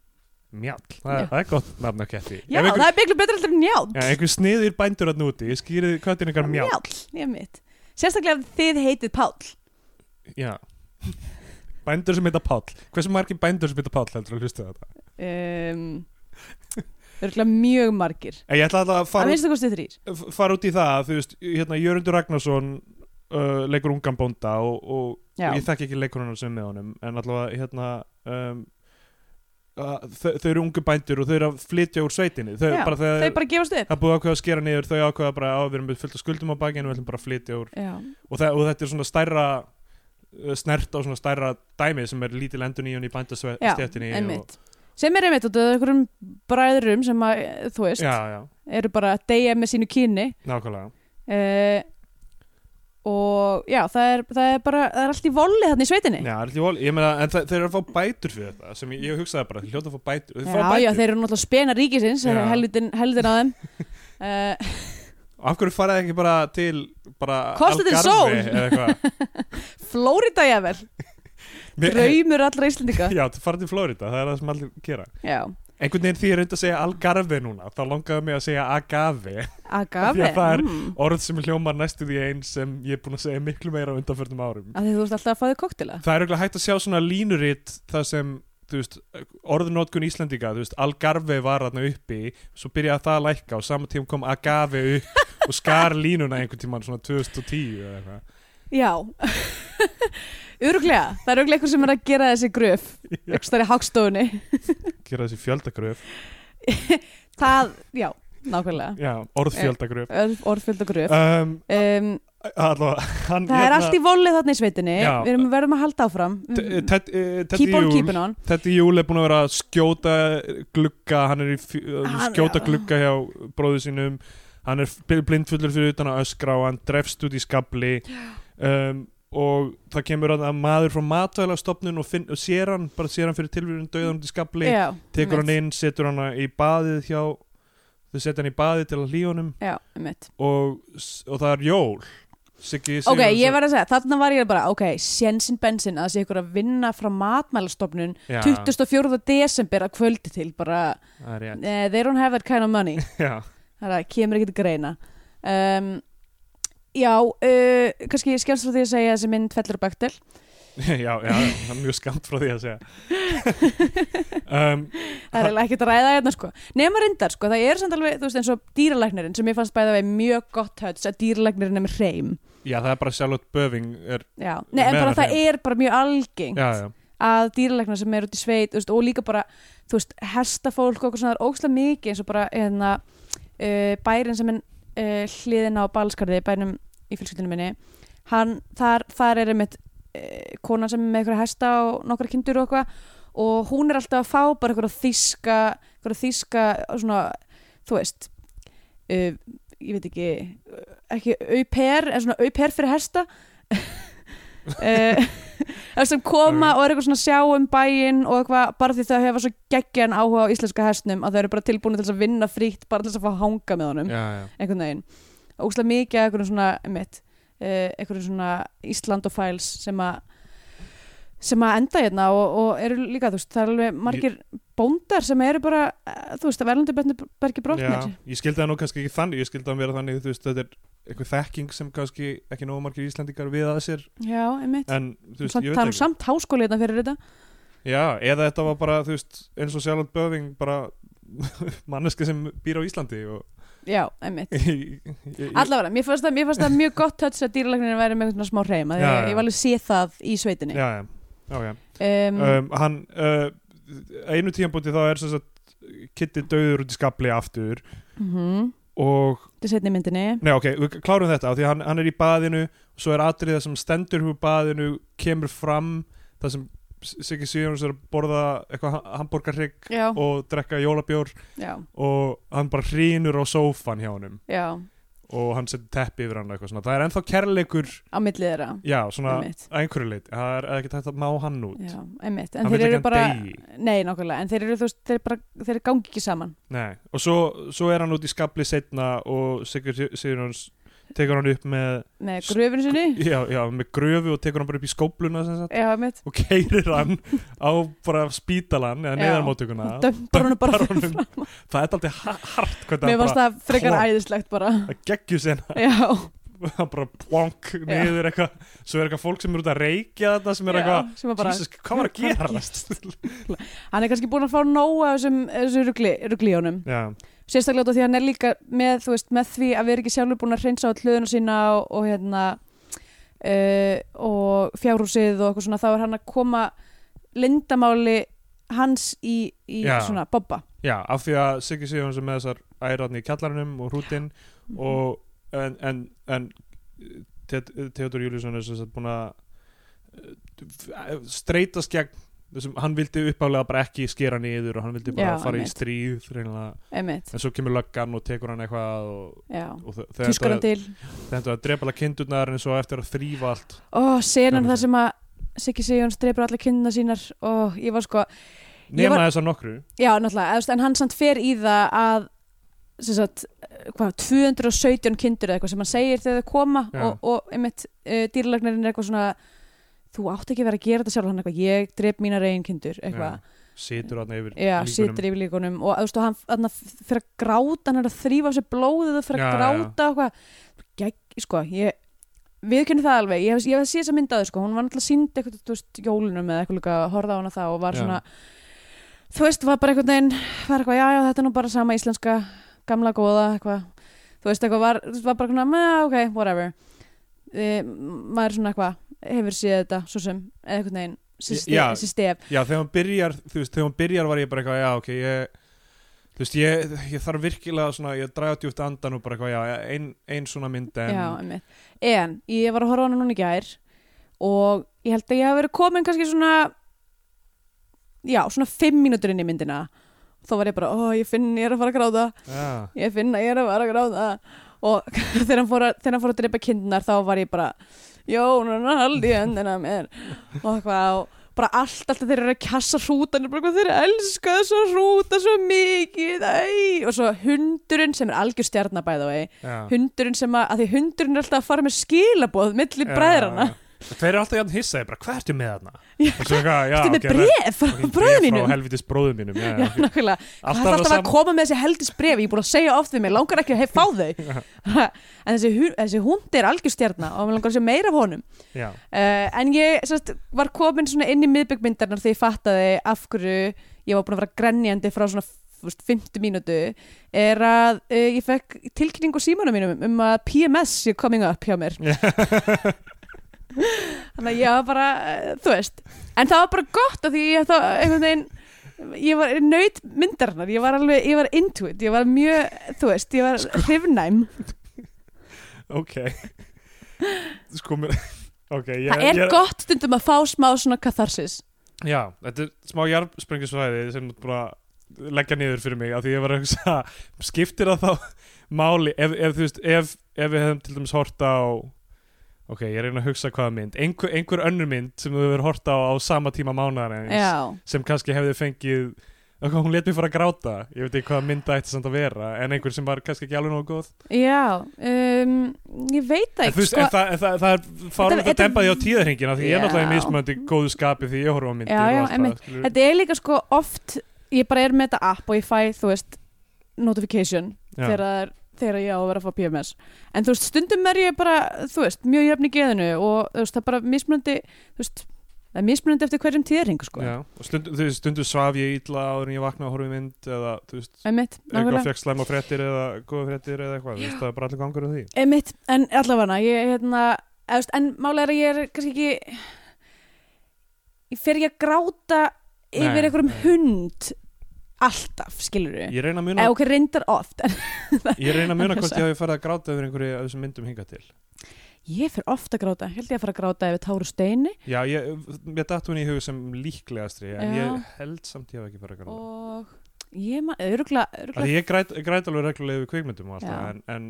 Speaker 2: Mjall, það,
Speaker 3: Já.
Speaker 2: það er gott nafn á ketti
Speaker 3: Já,
Speaker 2: ef einhver,
Speaker 3: það er miklu betra alltaf en Njáll
Speaker 2: ja, einhver sniðir bændur að núti skýrið köttin ykkar mjall
Speaker 3: ég mitt Sérstaklega ef þið heitið Páll
Speaker 2: Já Bændur sem heita Páll Hversu margir bændur sem heita Páll heldur að hlusta á þetta?
Speaker 3: um, Örgulega mjög margir
Speaker 2: En ég ætla alltaf að
Speaker 3: Það
Speaker 2: fara,
Speaker 3: minnst það kostið þrýr
Speaker 2: út, fara út í það að, Þú veist, hérna Jörundur Ragnarsson uh, leikur ungan bónda og, og,
Speaker 3: Já.
Speaker 2: og ég þekki ekki leikurinn sem er með honum en allavega hérna um, að, þau, þau eru ungu bændur og þau eru að flytja úr sveitinni Þau,
Speaker 3: Já,
Speaker 2: bara, þau,
Speaker 3: Þau bara gefast upp
Speaker 2: Það er búið ákveða að skera niður, þau ákveða bara að við erum með fullt af skuldum á bakinu, við ætlum bara að flytja úr
Speaker 3: Já,
Speaker 2: og, það, og þetta er svona stærra uh, snert á svona stærra dæmi sem er lítil endun í hún í
Speaker 3: já
Speaker 2: bændastjættinni
Speaker 3: einmitt Sem er einmitt út af einhverjum bræðrum sem að, eh, þú veist,
Speaker 2: Já, já,
Speaker 3: eru bara að deyja með sínu kyni
Speaker 2: nákvæmlega
Speaker 3: uh, og já, það er, það er bara, það er allt í volli þarna í sveitinni
Speaker 2: Já, allir vol, ég meina, en það, þeir eru að fá bætur fyrir þetta sem ég, ég hugsaði bara, þeir hljóta að fá bætur þeir fá
Speaker 3: já,
Speaker 2: bætur,
Speaker 3: já, þeir eru náttúrulega spena ríkisins,
Speaker 2: Já.
Speaker 3: helvitin, helvitin að þeim uh,
Speaker 2: af hverju faraði ekki bara til bara
Speaker 3: Costa del
Speaker 2: Algarve
Speaker 3: Sol.
Speaker 2: eða eitthvað?
Speaker 3: Flórida jafnvel,
Speaker 2: Mér-
Speaker 3: draumur allra Íslendinga
Speaker 2: Já, þú farið til Florida, það er það sem allir gera
Speaker 3: Já,
Speaker 2: einhvern veginn því ég reyndi að segja Algarve núna þá langaði mig að segja Agave Því
Speaker 3: agave
Speaker 2: að það er-
Speaker 3: mm.
Speaker 2: orð sem hljómar næstu því eins sem ég er búin að segja miklu meira á undanförnum árum
Speaker 3: að því þú ert alltaf að fá þig koktila
Speaker 2: það er auðvitað hægt að sjá svona línuritt það sem, þú veist, orðunótkun Íslendinga, þú veist, Algarve var þarna uppi svo byrjaði það að lækka og saman tíma kom Agave upp og skar línuna einhvern tíman svona 2010 eða eitthvað
Speaker 3: Já Öruglega, það er öruglega eitthvað sem er að gera þessi gröf, ekki stærri hákstofunni
Speaker 2: gera þessi fjöldagröf,
Speaker 3: Það, já, nákvæmlega
Speaker 2: já, orðfjöldagröf
Speaker 3: Orð- Orðfjöld og gröf
Speaker 2: um,
Speaker 3: um,
Speaker 2: allavega, hann
Speaker 3: Það er allt í volið þarna í sveitinni
Speaker 2: Hérna- Já.
Speaker 3: Við erum, verðum að halda áfram
Speaker 2: Te-
Speaker 3: Keep
Speaker 2: Ted- eh, Teddy
Speaker 3: on
Speaker 2: Júl
Speaker 3: keeping on
Speaker 2: Teddy Júl er búin að vera að skjóta glugga, hann er í fj- uh,
Speaker 3: Hann-
Speaker 2: skjóta
Speaker 3: já.
Speaker 2: glugga hjá bróðu sínum hann er bl- blindfullur fyrir utan að öskra og hann drefst út í skabli um, og það kemur að að maður frá matvælastofnun og, finn, og sér hann, bara sér hann fyrir tilvíðun döðan út í skabli,
Speaker 3: Já,
Speaker 2: tekur hann
Speaker 3: einmitt.
Speaker 2: inn setur hann í baðið hjá þau setja hann í baðið til að hlýja honum
Speaker 3: Já, einmitt
Speaker 2: og, s- og það er jól Siggi
Speaker 3: Ok,
Speaker 2: Sigurjónsson-
Speaker 3: ég var að segja, þarna var ég bara Ok, sjensin bensin að sé ykkur að vinna frá matmælastofnun
Speaker 2: Já,
Speaker 3: 24. desember að kvöldi til bara,
Speaker 2: það er rétt.
Speaker 3: eh, they don't have that kind of money
Speaker 2: Já.
Speaker 3: Það er að kemur ekki til greina um, Já, uh, kannski skemst frá því að segja að þessi mynd fellur á baktel
Speaker 2: já, já, það er mjög skamt frá því að segja um,
Speaker 3: það er eiginlega ekkert að ræða hérna sko nema reyndar sko, það er samt alveg, þú veist eins og dýralæknirinn sem ég fannst bæða við mjög gott höts að dýralæknirinn er með hreim
Speaker 2: Já, það er bara sjálfot böfing er,
Speaker 3: já, nei en
Speaker 2: Með
Speaker 3: bara það
Speaker 2: hreim.
Speaker 3: er bara mjög algengt
Speaker 2: já, já.
Speaker 3: að dýralæknar sem er út í sveit þú veist, og líka bara, þú veist, hestafólk og okkur svona, það er ókslega mikið eins og bara hérna, uh, bærin sem er uh, hliðin á balskarði, bænum í fylskildinu minni, hann þar, þar er einmitt uh, kona sem er með einhverja hesta og nokkra kindur og eitthvað og hún er alltaf að fá bara einhverja þýska, einhverja þýska svona, þú veist uh, ég veit ekki eh, ekki au-pair, en svona au-pair fyrir hesta uh, sem koma og er eitthvað svona að sjá um bæinn og eitthvað, bara því þau hefa svo geggjan áhuga á íslenska hestnum að þau eru bara tilbúin til þess að vinna frítt, bara til þess að fá að hanga með honum
Speaker 2: Já, já.
Speaker 3: einhvern veginn og úslega mikið eh, af einhverjum svona mitt, uh, einhverjum svona Ísland og fæls sem að sem að enda hérna og, og eru líka, þú veist, það er alveg margir bóndar sem eru bara, eh, þú veist, að verðlundubergi brotnir.
Speaker 2: Já, ég skildi það nú kannski ekki þannig, ég skildi það vera þannig, þú veist, þetta er eitthvað þekking sem kannski ekki nógu margir Íslendingar við að sér,
Speaker 3: Já, einmitt.
Speaker 2: en Eh, þú veist,
Speaker 3: Samt,
Speaker 2: ég
Speaker 3: það er
Speaker 2: veit
Speaker 3: nú
Speaker 2: ekki.
Speaker 3: samt háskóli hérna fyrir þetta.
Speaker 2: Já, eða þetta var bara, þú veist, eins og sjálfand Böving, bara manneska sem býr á Íslandi og
Speaker 3: Já, einmitt.
Speaker 2: ég, ég,
Speaker 3: Allavega, mér fannst það, mér fannst það mjög gott touch að dýralagnirinn væri með einhvern svona smá hreim að
Speaker 2: Já,
Speaker 3: ég,
Speaker 2: já.
Speaker 3: ég var alveg sé það í sveitinni.
Speaker 2: já, já, já, já.
Speaker 3: Um,
Speaker 2: um, hann uh, einu tíðanbúti þá er sem sagt Kitty döður út í skabli aftur
Speaker 3: mhm,
Speaker 2: og,
Speaker 3: Þetta er setni myndinni.
Speaker 2: nei ok, við klárum þetta af því að hann, hann er í baðinu, svo er atriða sem stendur húr baðinu, kemur fram það sem Siggi Sigjóns er að borða eitthvað hambúrgarrygg
Speaker 3: Já,
Speaker 2: og drekka jólabjór
Speaker 3: já,
Speaker 2: og hann bara hrýnur á sófan hjá honum
Speaker 3: já,
Speaker 2: og hann setur teppi yfir hann og eitthvað svona, það er ennþá kærleikur
Speaker 3: á millið þeirra.
Speaker 2: já, svona,
Speaker 3: Einmitt.
Speaker 2: að einhverju leit það er ekki hægt að má hann út
Speaker 3: Já, einmitt. En
Speaker 2: hann
Speaker 3: þeir
Speaker 2: vill
Speaker 3: eru
Speaker 2: ekki að
Speaker 3: bara,
Speaker 2: deyi.
Speaker 3: nei, nákvæmlega, en þeir eru, þú veist, þeir, bara, þeir gangi ekki saman.
Speaker 2: Nei, og svo, svo er hann út í skabli setna og Sigur Sigurjóns tekur hann upp með,
Speaker 3: Nei, gröfinu sinni.
Speaker 2: já, já, með gröfu og tekur hann bara upp í skópluna sem sagt,
Speaker 3: Já, einmitt.
Speaker 2: og keirir hann á bara spítalan eða
Speaker 3: Já.
Speaker 2: neðarmóttökuna
Speaker 3: Dömpar honum bara fyrir
Speaker 2: honum. það er aldrei hart hvernig
Speaker 3: Mér
Speaker 2: hann
Speaker 3: varst
Speaker 2: bara,
Speaker 3: það frekar
Speaker 2: plonk.
Speaker 3: æðislegt bara
Speaker 2: það geggjur sena
Speaker 3: Já,
Speaker 2: hann bara plonk niður eitthvað svo er eitthvað fólk sem er út að reykja þetta sem er
Speaker 3: já,
Speaker 2: eitthvað,
Speaker 3: sem var bara
Speaker 2: Jesus, hvað var að gera
Speaker 3: Hann er kannski búin að fá nóg af þessum, þessum rugli, rugli í honum
Speaker 2: já,
Speaker 3: Sérstaklega út af því að hann er líka með, þú veist, með því að við erum ekki sjálfur búin að hreinsa á hlöðuna sína og, og hérna uh, og fjárhúsið og eitthvað svona þá er hann að koma lindamáli hans í, í
Speaker 2: Já.
Speaker 3: svona bobba
Speaker 2: já, af því að Sigur Sigurjóns er með þessar æratni í kjallarunum og hrútin
Speaker 3: Mhm.
Speaker 2: og en, en, en Te- Theodor Júliusson er sem sagt búin að uh, streytast gegn þessum, hann vildi uppálega bara ekki skera niður og hann vildi bara
Speaker 3: Já,
Speaker 2: fara í
Speaker 3: einmitt.
Speaker 2: stríð reynilega.
Speaker 3: einmitt,
Speaker 2: en svo kemur löggan og tekur hann eitthvað og,
Speaker 3: já
Speaker 2: og þe- þeir
Speaker 3: Tuskar hann
Speaker 2: endaðu-
Speaker 3: til
Speaker 2: þeir endaðu að drepa alveg kindurnar en svo eftir að þrýfa allt
Speaker 3: Ó, senan
Speaker 2: Gaman
Speaker 3: þar sem að Siggi Sigjóns dreipur alla kynna sínar og ég var sko, Ég
Speaker 2: nema
Speaker 3: var-
Speaker 2: þessar nokkru
Speaker 3: Já, náttúrulega, eða þú veist, en hann samt fer í það að sem sagt, hvað, 217 kindur eða eitthvað sem hann segir þegar þau koma
Speaker 2: Já.
Speaker 3: og, og einmitt uh, dýralagnarinn er eitthvað svona þú átt ekki að vera að gera þetta sjálf hann eitthvað, ég dref mínar eigin kindur eitthvað,
Speaker 2: situr hann yfir
Speaker 3: já, situr yfir líkunum og þú veist, og hann, hann fyrir að gráta hann er að þrýfa á sér blóðið og fyrir
Speaker 2: Já,
Speaker 3: að gráta og eitthvað, gegg, sko ég viðkynni það alveg, ég hef, ég hef að sé þess að mynda sko, hún var náttúrulega sínd eitthvað, þú veist, jólunum eða eitthvað líka, horfða á hana þá og var
Speaker 2: Já.
Speaker 3: svona þú veist, var bara einhvern veginn var eitthvað, já, já, þetta er nú bara sama íslenska gamla góða, eitthvað þú veist, eitthvað var, var bara svona, "Meh, ok, whatever e, maður svona eitthvað hefur séð þetta, svo sem eða einhvern veginn,
Speaker 2: Já.
Speaker 3: sýst stef
Speaker 2: Já, þegar hann byrjar, þú veist, þegar hann byrjar var ég bara eitthvað, já, ok, ég, þú veist, ég, ég þarf virkilega svona, ég draga djúpt andan og bara eitthvað, já, ein, ein svona mynd en,
Speaker 3: já, einmitt en, ég var að horfa á hana núna í gær og ég held að ég hafi verið komin kannski svona já, svona fimm mínútur inn í myndina þá var ég bara, ó, ég finn, ég er að fara að gráta
Speaker 2: já,
Speaker 3: ég finn að ég er að vara að gráða og þegar hann fór að, þegar hann fór að drepa kindnar þá var ég bara Jónan haldi hendina mér og eitthvað og bara allt, allt að þeir eru að kjassa hrútan og bara eitthvað, þeir elska þessa hrúta svo mikið æ. og svo hundurinn sem er algjör stjarnabæð og
Speaker 2: já.
Speaker 3: hundurinn sem að, að því hundurinn er alltaf að fara með skilaboð millir
Speaker 2: Já,
Speaker 3: bræðrana,
Speaker 2: já. Þeir eru alltaf jafn hissaði, bara, hvað ertu með þarna? Og svo eitthvað, já,
Speaker 3: þetta er
Speaker 2: ok,
Speaker 3: með bref
Speaker 2: það-
Speaker 3: frá bræðum
Speaker 2: Frá
Speaker 3: mínum
Speaker 2: helvitis bróðum mínum, já,
Speaker 3: Já,
Speaker 2: já.
Speaker 3: nákvæmlega. Það er alltaf að koma með þessi heldis brefi, ég er búin að segja oft við mig, langar ekki að hef fá þau. en þessi, hu- þessi hundi er algjörstjarna og mér langar að sé meira af honum.
Speaker 2: Já,
Speaker 3: Uh, en ég sérst, var komin svona inn í miðbyggmyndarnar þegar ég fattaði af hverju ég var búin að vera grenjandi frá svona þú veist, 50 mínútu er að uh, ég fekk tilkynningu símanum mínum um að PMS er coming up hjá mér þannig að ég var bara, uh, þú veist en það var bara gott af því ég þá einhvern veginn ég var nöyt myndarnar, ég var alveg ég var into it, ég var mjög, þú veist ég var hrifnæm,
Speaker 2: ok. Sko, mér, ok, ég...
Speaker 3: það er
Speaker 2: ég,
Speaker 3: gott stundum að fá smá svona katharsis
Speaker 2: Já, þetta er smá jarðsprengisvæði sem bara leggja niður fyrir mig af því ég var að hugsa, skiptir það þá máli, ef, ef þú veist ef, ef við hefum til dæmis hort á ok, ég reyna að hugsa hvaða mynd einhver, einhver önnur mynd sem þú hefur hort á á sama tíma mánaðarins
Speaker 3: já,
Speaker 2: sem kannski hefði fengið og hún let mig fara að gráta ég veit ekki hvað mynda ætti samt að vera en einhver sem var kannski ekki alveg nógu góð
Speaker 3: Já, um, ég veit það
Speaker 2: en, þú
Speaker 3: ekki
Speaker 2: veist, en það, en það, það er fárum
Speaker 3: sko- Þetta-
Speaker 2: að dempa því á
Speaker 3: þetta-
Speaker 2: tíðarhingina því ég er náttúrulega í
Speaker 3: Já.
Speaker 2: mismöndi góðu skapi því ég horfa á myndir
Speaker 3: Já, já,
Speaker 2: og
Speaker 3: einmitt.
Speaker 2: allt það skilur-
Speaker 3: Þetta er líka sko oft ég bara er með þetta app og ég fæ, þú veist notification
Speaker 2: Já.
Speaker 3: þegar, það er- þegar ég á að vera að fá PMS en þú veist, stundum er ég bara, þú veist, mjög jöfn í geðinu og þú veist, það er bara mismunandi þú veist, það er mismunandi eftir hverjum tíðring sko,
Speaker 2: Já, og stundu, þú veist, stundu svaf ég ítla áður en ég vakna og horfi í mynd eða, þú veist,
Speaker 3: einmitt,
Speaker 2: eitthvað
Speaker 3: nákvæmlega
Speaker 2: fekk slæma fréttir eða góða fréttir eða eitthvað, þú veist, það er bara allir gangur á því
Speaker 3: einmitt, en allavega ég, hérna, eða, þú veist, en málega er að ég er kannski ekki ég fer ekki að gráta yfir
Speaker 2: Nei,
Speaker 3: einhverjum
Speaker 2: nei.
Speaker 3: hund alltaf, skilur við
Speaker 2: Ég reyna að muna,
Speaker 3: eða ok, reyndar oft en
Speaker 2: ég reyna að muna hvort ég hafi farið að gráta yfir einhverju af þessum myndum hingað til
Speaker 3: ég fer oft að gráta, held ég að fara að gráta yfir Táru Steini
Speaker 2: Já, ég, mér datt hún í hug sem líklegastri en
Speaker 3: Já.
Speaker 2: ég held samt ég hafi ekki farið að gráta
Speaker 3: og ég maður, örugla,
Speaker 2: Af
Speaker 3: örugla
Speaker 2: Því ég græt, græt alveg reglulega yfir kvikmyndum og
Speaker 3: Já.
Speaker 2: alltaf en, en,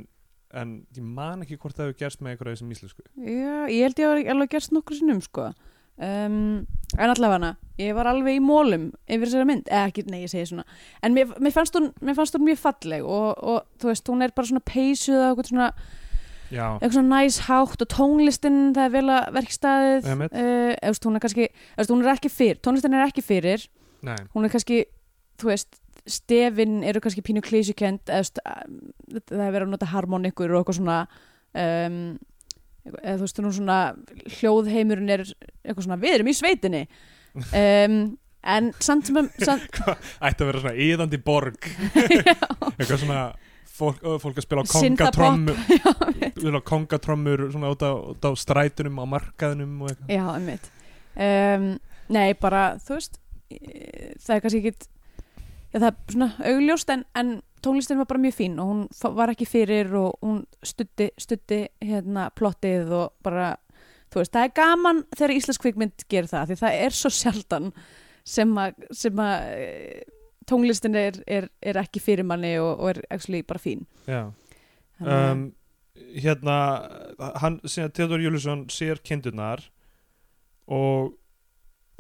Speaker 2: en ég man ekki hvort það hefur gerst með einhverju af þessum íslensku
Speaker 3: já, ég held ég að alveg gerst nokkur sinnum sko um, en allavega ég var alveg í mólum yfir þessari mynd eða ekki, nei ég segi svona en mér, mér, fannst, hún, mér fannst hún mjög falleg og, og þú veist, hún er bara svona peysuð og eitthvað svona,
Speaker 2: Já,
Speaker 3: eitthvað svona næs hátt og tónlistin, það er vel að verkstæðið
Speaker 2: Einmitt.
Speaker 3: Eh, eða þú veist, hún er kannski eða þú veist, hún er ekki fyrir, tónlistin er ekki fyrir
Speaker 2: nei,
Speaker 3: hún er kannski, þú veist stefin eru kannski pínu klísukend eða þú veist, að- það er verið að nota harmonikur og eitthvað svona um, eða þú veist, nú svona hljóðheimurinn er eitthvað svona við erum í sveitinni um, en samt sem að samt,
Speaker 2: ætti að vera svona íðandi borg eitthvað svona fólk, ö, fólk að spila á
Speaker 3: Synthpop.
Speaker 2: kongatrommur spila á kongatrommur svona út á, út á strætunum á markaðinum og eitthvað
Speaker 3: já, einmitt um, nei, bara, þú veist eh, það er kannski ekki já, það er svona augljóst en, en tónlistin var bara mjög fín og hún f- var ekki fyrir og hún stutti, stutti hérna plottið og bara þú veist, það er gaman þegar íslensk kvikmynd gerir það, því það er svo sjaldan sem að, sem að eh, tónlistin er, er, er ekki fyrir manni og, og er actually bara fín
Speaker 2: Já.
Speaker 3: Þannig að-
Speaker 2: um, hérna hann, síðan Theodor Júlusson sér kindurnar og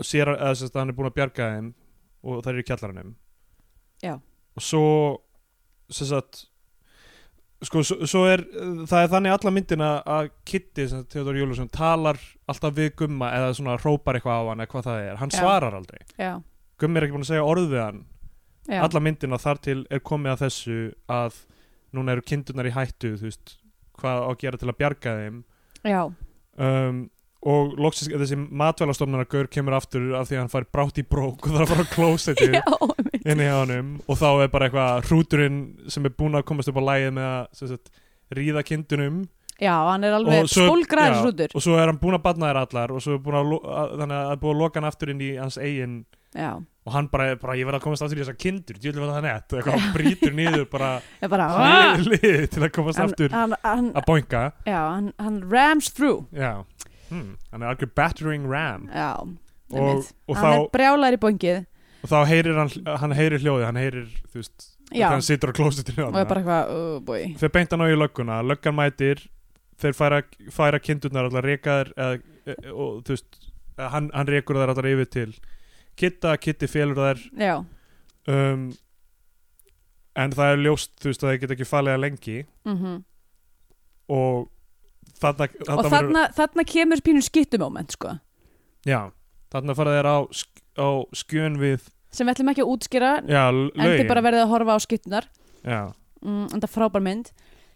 Speaker 2: sér að sérst, hann er búin að bjarga þeim og það er í kjallaranum
Speaker 3: Já.
Speaker 2: og svo sem sagt sko, svo, svo er, það er þannig alla myndina að Kitty, sem sagt, Theodor Júlusson talar alltaf við Gumma eða svona hrópar eitthvað á hann eða hvað það er, hann
Speaker 3: Já.
Speaker 2: svarar aldrei
Speaker 3: já,
Speaker 2: Gummi er ekki búin að segja orð við hann
Speaker 3: já,
Speaker 2: alla myndina þar til er komið að þessu að núna eru kindurnar í hættu þú veist, hvað á að gera til að bjarga þeim
Speaker 3: já,
Speaker 2: um, og loksins þessi matvælastofnarnar gaur kemur aftur af því að hann fær brátt í brók og það er að fara á klósetu
Speaker 3: já, einmitt.
Speaker 2: inn í honum og þá er bara eitthvað hrúturinn sem er búin að komast upp á lægið með að sem sagt, ríða kindunum
Speaker 3: já, hann er alveg
Speaker 2: já,
Speaker 3: spólgraður rútur
Speaker 2: og svo er hann búin að batna þær allar og svo er búin að, lo- að, þannig að, að búin að loka hann aftur inn í hans eigin
Speaker 3: já,
Speaker 2: og hann bara, bara ég verð að komast aftur í þessar kindur djúlega var það nett, og eitthvað hann brýtur niður bara
Speaker 3: ég bara "Ah!"
Speaker 2: hann er liðið til að komast
Speaker 3: hann,
Speaker 2: aftur
Speaker 3: hann, hann,
Speaker 2: að boinga
Speaker 3: já, hann, hann rams through
Speaker 2: já, hmm. hann er algjör battering ram
Speaker 3: já,
Speaker 2: og,
Speaker 3: einmitt.
Speaker 2: og,
Speaker 3: hann er
Speaker 2: þá,
Speaker 3: brjálar í bongið
Speaker 2: og þá heyrir hann, hann heyrir hljóðið, hann heyrir þú veist,
Speaker 3: Já.
Speaker 2: þegar hann situr á klósitinu
Speaker 3: og er bara eitthvað, oh boy
Speaker 2: þeir beinta ná í lögguna, löggan mætir þeir færa, færa kindurnar allar rekaðar eða, e- og þú veist eh, hann, hann rekur þær allar yfir til Kitta, Kitti félur þær
Speaker 3: já,
Speaker 2: um, en það er ljóst þú veist að þeir geta ekki falega lengi
Speaker 3: mhm
Speaker 2: og þarna,
Speaker 3: og
Speaker 2: þarna verður-
Speaker 3: þarna, þarna kemur pínu skittumóment sko,
Speaker 2: Já, þarna fara þeir á, sk á skjön við
Speaker 3: sem við ætlum ekki að útskýra
Speaker 2: já, l-
Speaker 3: en þið
Speaker 2: lögin
Speaker 3: bara verðið að horfa á skittunar
Speaker 2: já,
Speaker 3: mm, en það er frábær mynd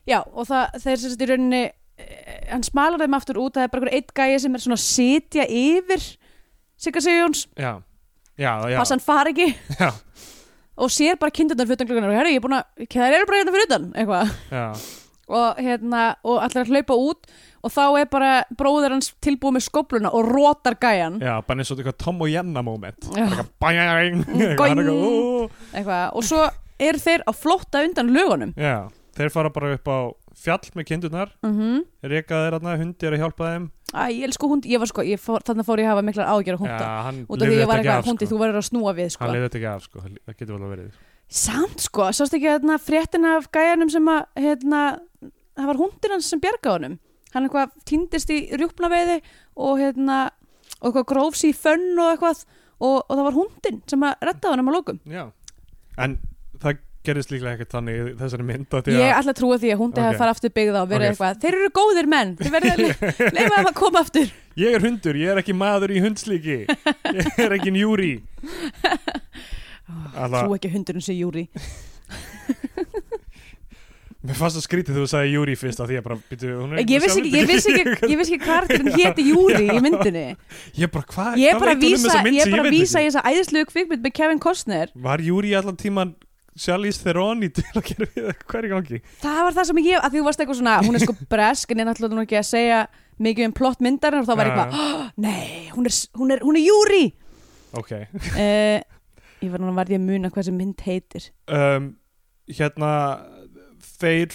Speaker 3: já, og það, þeir sem sagt í rauninni eh, hann smalar þeim aftur út það er bara einhver eitt gæja sem er svona að sitja yfir Sigga Sigjóns,
Speaker 2: já, já, já,
Speaker 3: pass hann far ekki
Speaker 2: já,
Speaker 3: og sér bara kindurnar fyrir utan klukkan og herri, ég er búin að, það eru bara hérna fyrir utan eitthvað,
Speaker 2: já,
Speaker 3: og hérna og allir að hlaupa út og þá er bara bróður hans tilbúið með skobluna og rótar gæjan
Speaker 2: já bara eins og þetta eitthvað Tom og Jenna moment
Speaker 3: Já.
Speaker 2: bara eitthvað bæjæng eitthvað, hann er eitthvað, "Ú."
Speaker 3: eitthvað, og svo eru þeir að flótta undan lögunum
Speaker 2: já, þeir fara bara upp á fjall með kindurnar,
Speaker 3: mm
Speaker 2: reka þeir aðna hundi er að hjálpa þeim
Speaker 3: Æ, ég elsku hundi, ég var sko, ég fór, þannig fór ég að hafa miklar ágjör að hunda.
Speaker 2: já, hann
Speaker 3: Út af því
Speaker 2: lifði
Speaker 3: ég var
Speaker 2: þetta ekki
Speaker 3: eitthvað,
Speaker 2: af
Speaker 3: hundi,
Speaker 2: sko.
Speaker 3: þú verður að snúa við, sko.
Speaker 2: hann lifði þetta ekki af sko, það getur vel að verið
Speaker 3: Samt, sko, sást ekki hérna fréttina af gæjanum sem að, hérna, það var hundin hans sem bjargaði honum. Hann eitthvað týndist í rjúpnaveiði og hérna, og eitthvað grófs í fönn og eitthvað og, og það var hundin sem að redda honum að lókum.
Speaker 2: já, en það gerist líklega ekkert þannig í þessari mynd af því
Speaker 3: Ég
Speaker 2: að-
Speaker 3: ætla að trúa því að hún okay.
Speaker 2: Ok.
Speaker 3: hefði farið aftur byggða og verið
Speaker 2: Ok.
Speaker 3: eitthvað Þeir eru góðir menn, þeir verða leifa þeim að koma aftur
Speaker 2: ég er hundur, ég er ekki maður í hundslíki ég er ekki njúri Alla,
Speaker 3: Trú ekki hundurinn sem Júri
Speaker 2: mér fannst það skrítið þegar þú sagði júri fyrst að því að bara byrju, hún er
Speaker 3: Ég vissi ekki, ég vissi ekki, ég vissi ekki karakterinn héti Júri í myndinni
Speaker 2: ég bara hvað,
Speaker 3: Ég er
Speaker 2: hvað
Speaker 3: bara að
Speaker 2: veit hún um
Speaker 3: vísa,
Speaker 2: þessa mynd
Speaker 3: ég er
Speaker 2: sem
Speaker 3: bara að
Speaker 2: veit
Speaker 3: vísa
Speaker 2: ekki?
Speaker 3: í þessa æðislegu kvikmynd með Kevin Costner
Speaker 2: var júri allan tíman Charlize Theron í til að gera við hvað er í gangi
Speaker 3: Það var það sem ég, að því þú varst eitthvað svona Hún er sko bresk, en ég er náttúrulega nú ekki að segja mikið um plott myndarinn og þá var ég
Speaker 2: Ja.
Speaker 3: eitthvað "Oh, Nei, hún er, hún er, hún er Júri
Speaker 2: ok,
Speaker 3: uh, Ég var núna varði að muna hvað sem mynd heitir
Speaker 2: um, hérna þeir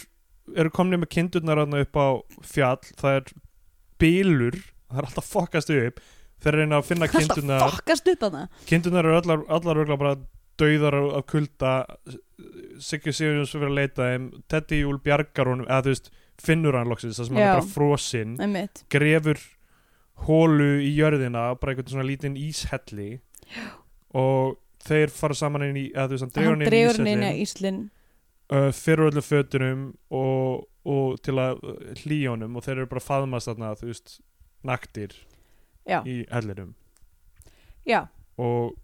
Speaker 2: eru komnið með kindurnar þarna upp á fjall það er bílur það er alltaf fokkast upp þeir reyna að finna
Speaker 3: Alltaf
Speaker 2: kindurnar
Speaker 3: fokkast upp að það
Speaker 2: kindurnar eru allar, allar örugglega bara dauðar af af kulda Siggi Sigurjóns fyrir að leita þeim Teddy Júl bjargar honum eða þú veist finnur hann loksins það sem hann
Speaker 3: Já.
Speaker 2: er bara frosinn
Speaker 3: Einmitt.
Speaker 2: grefur hólu í jörðina bara einhvern svona lítinn íshelli Já. og þeir fara saman inn í eða þú veist hann dregur
Speaker 3: Hann
Speaker 2: hann inn í
Speaker 3: dregur hann inn
Speaker 2: íshellin
Speaker 3: í Íslinn
Speaker 2: uh, fyrir öllu fötunum og, og til að uh, hlýja honum og þeir eru bara að faðmast þarna þú veist naktir
Speaker 3: Já.
Speaker 2: í hellinum
Speaker 3: Já,
Speaker 2: og,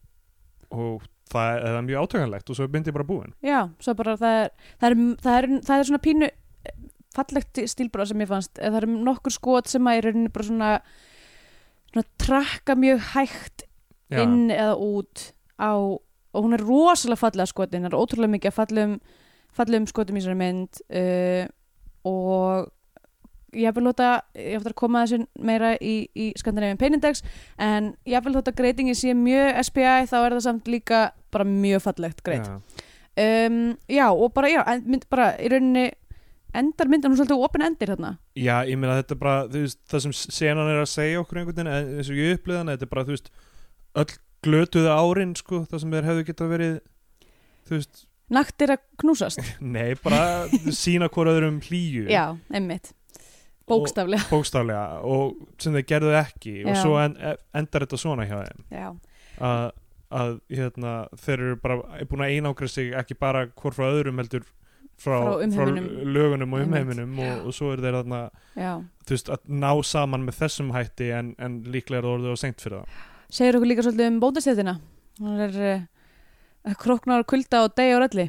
Speaker 2: og það er, það er mjög átökanlegt og svo myndi ég bara búin
Speaker 3: Já, svo bara það er, það er, það er, það er svona pínu eh, fallegt stílbróð sem ég fannst Eh, það eru nokkur skot sem að er rauninni bara svona, svona trakka mjög hægt
Speaker 2: Já.
Speaker 3: inn eða út á, og hún er rosalega fallega skotin, það er ótrúlega mikið að fallegum fallegum skotum í þessari mynd uh, og ég vil hóta, ég vil að koma að þessu meira í, í Skandinavian Peinindex en ég vil hóta greitingin sé mjög SPI þá er það samt líka bara mjög fallegt greit
Speaker 2: Já.
Speaker 3: um, já og bara, já, en mynd, bara í rauninni endar myndin hún er svolítið open endir hérna
Speaker 2: Já, ég meina þetta er bara, þú veist, það sem senan er að segja okkur einhvern veginn, en eins og ég upplýði hana, þetta er bara, þú veist, öll glötuðu árin, sko, það sem þeir hefðu geta verið, þú veist,
Speaker 3: nakt er að knúsast,
Speaker 2: nei, bara sína hvort öðrum hlýju,
Speaker 3: já, einmitt bókstaflega,
Speaker 2: bókstaflega, og sem þeir gerðu ekki, og
Speaker 3: Já.
Speaker 2: svo en, e- endar þetta svona hjá þeim,
Speaker 3: já,
Speaker 2: að, að hérna, þeir eru bara búin að einangra sig ekki bara hvort frá öðrum heldur frá,
Speaker 3: Frá umheiminum.
Speaker 2: lögunum og
Speaker 3: Einmitt.
Speaker 2: umheiminum, og, og svo eru þeir þarna,
Speaker 3: já
Speaker 2: þú veist, að ná saman með þessum hætti en, en líklega er það orðið á seint fyrir það
Speaker 3: segir okkur líka svolítið um bóndastættina hún er uh, króknar kulda og degi á rölli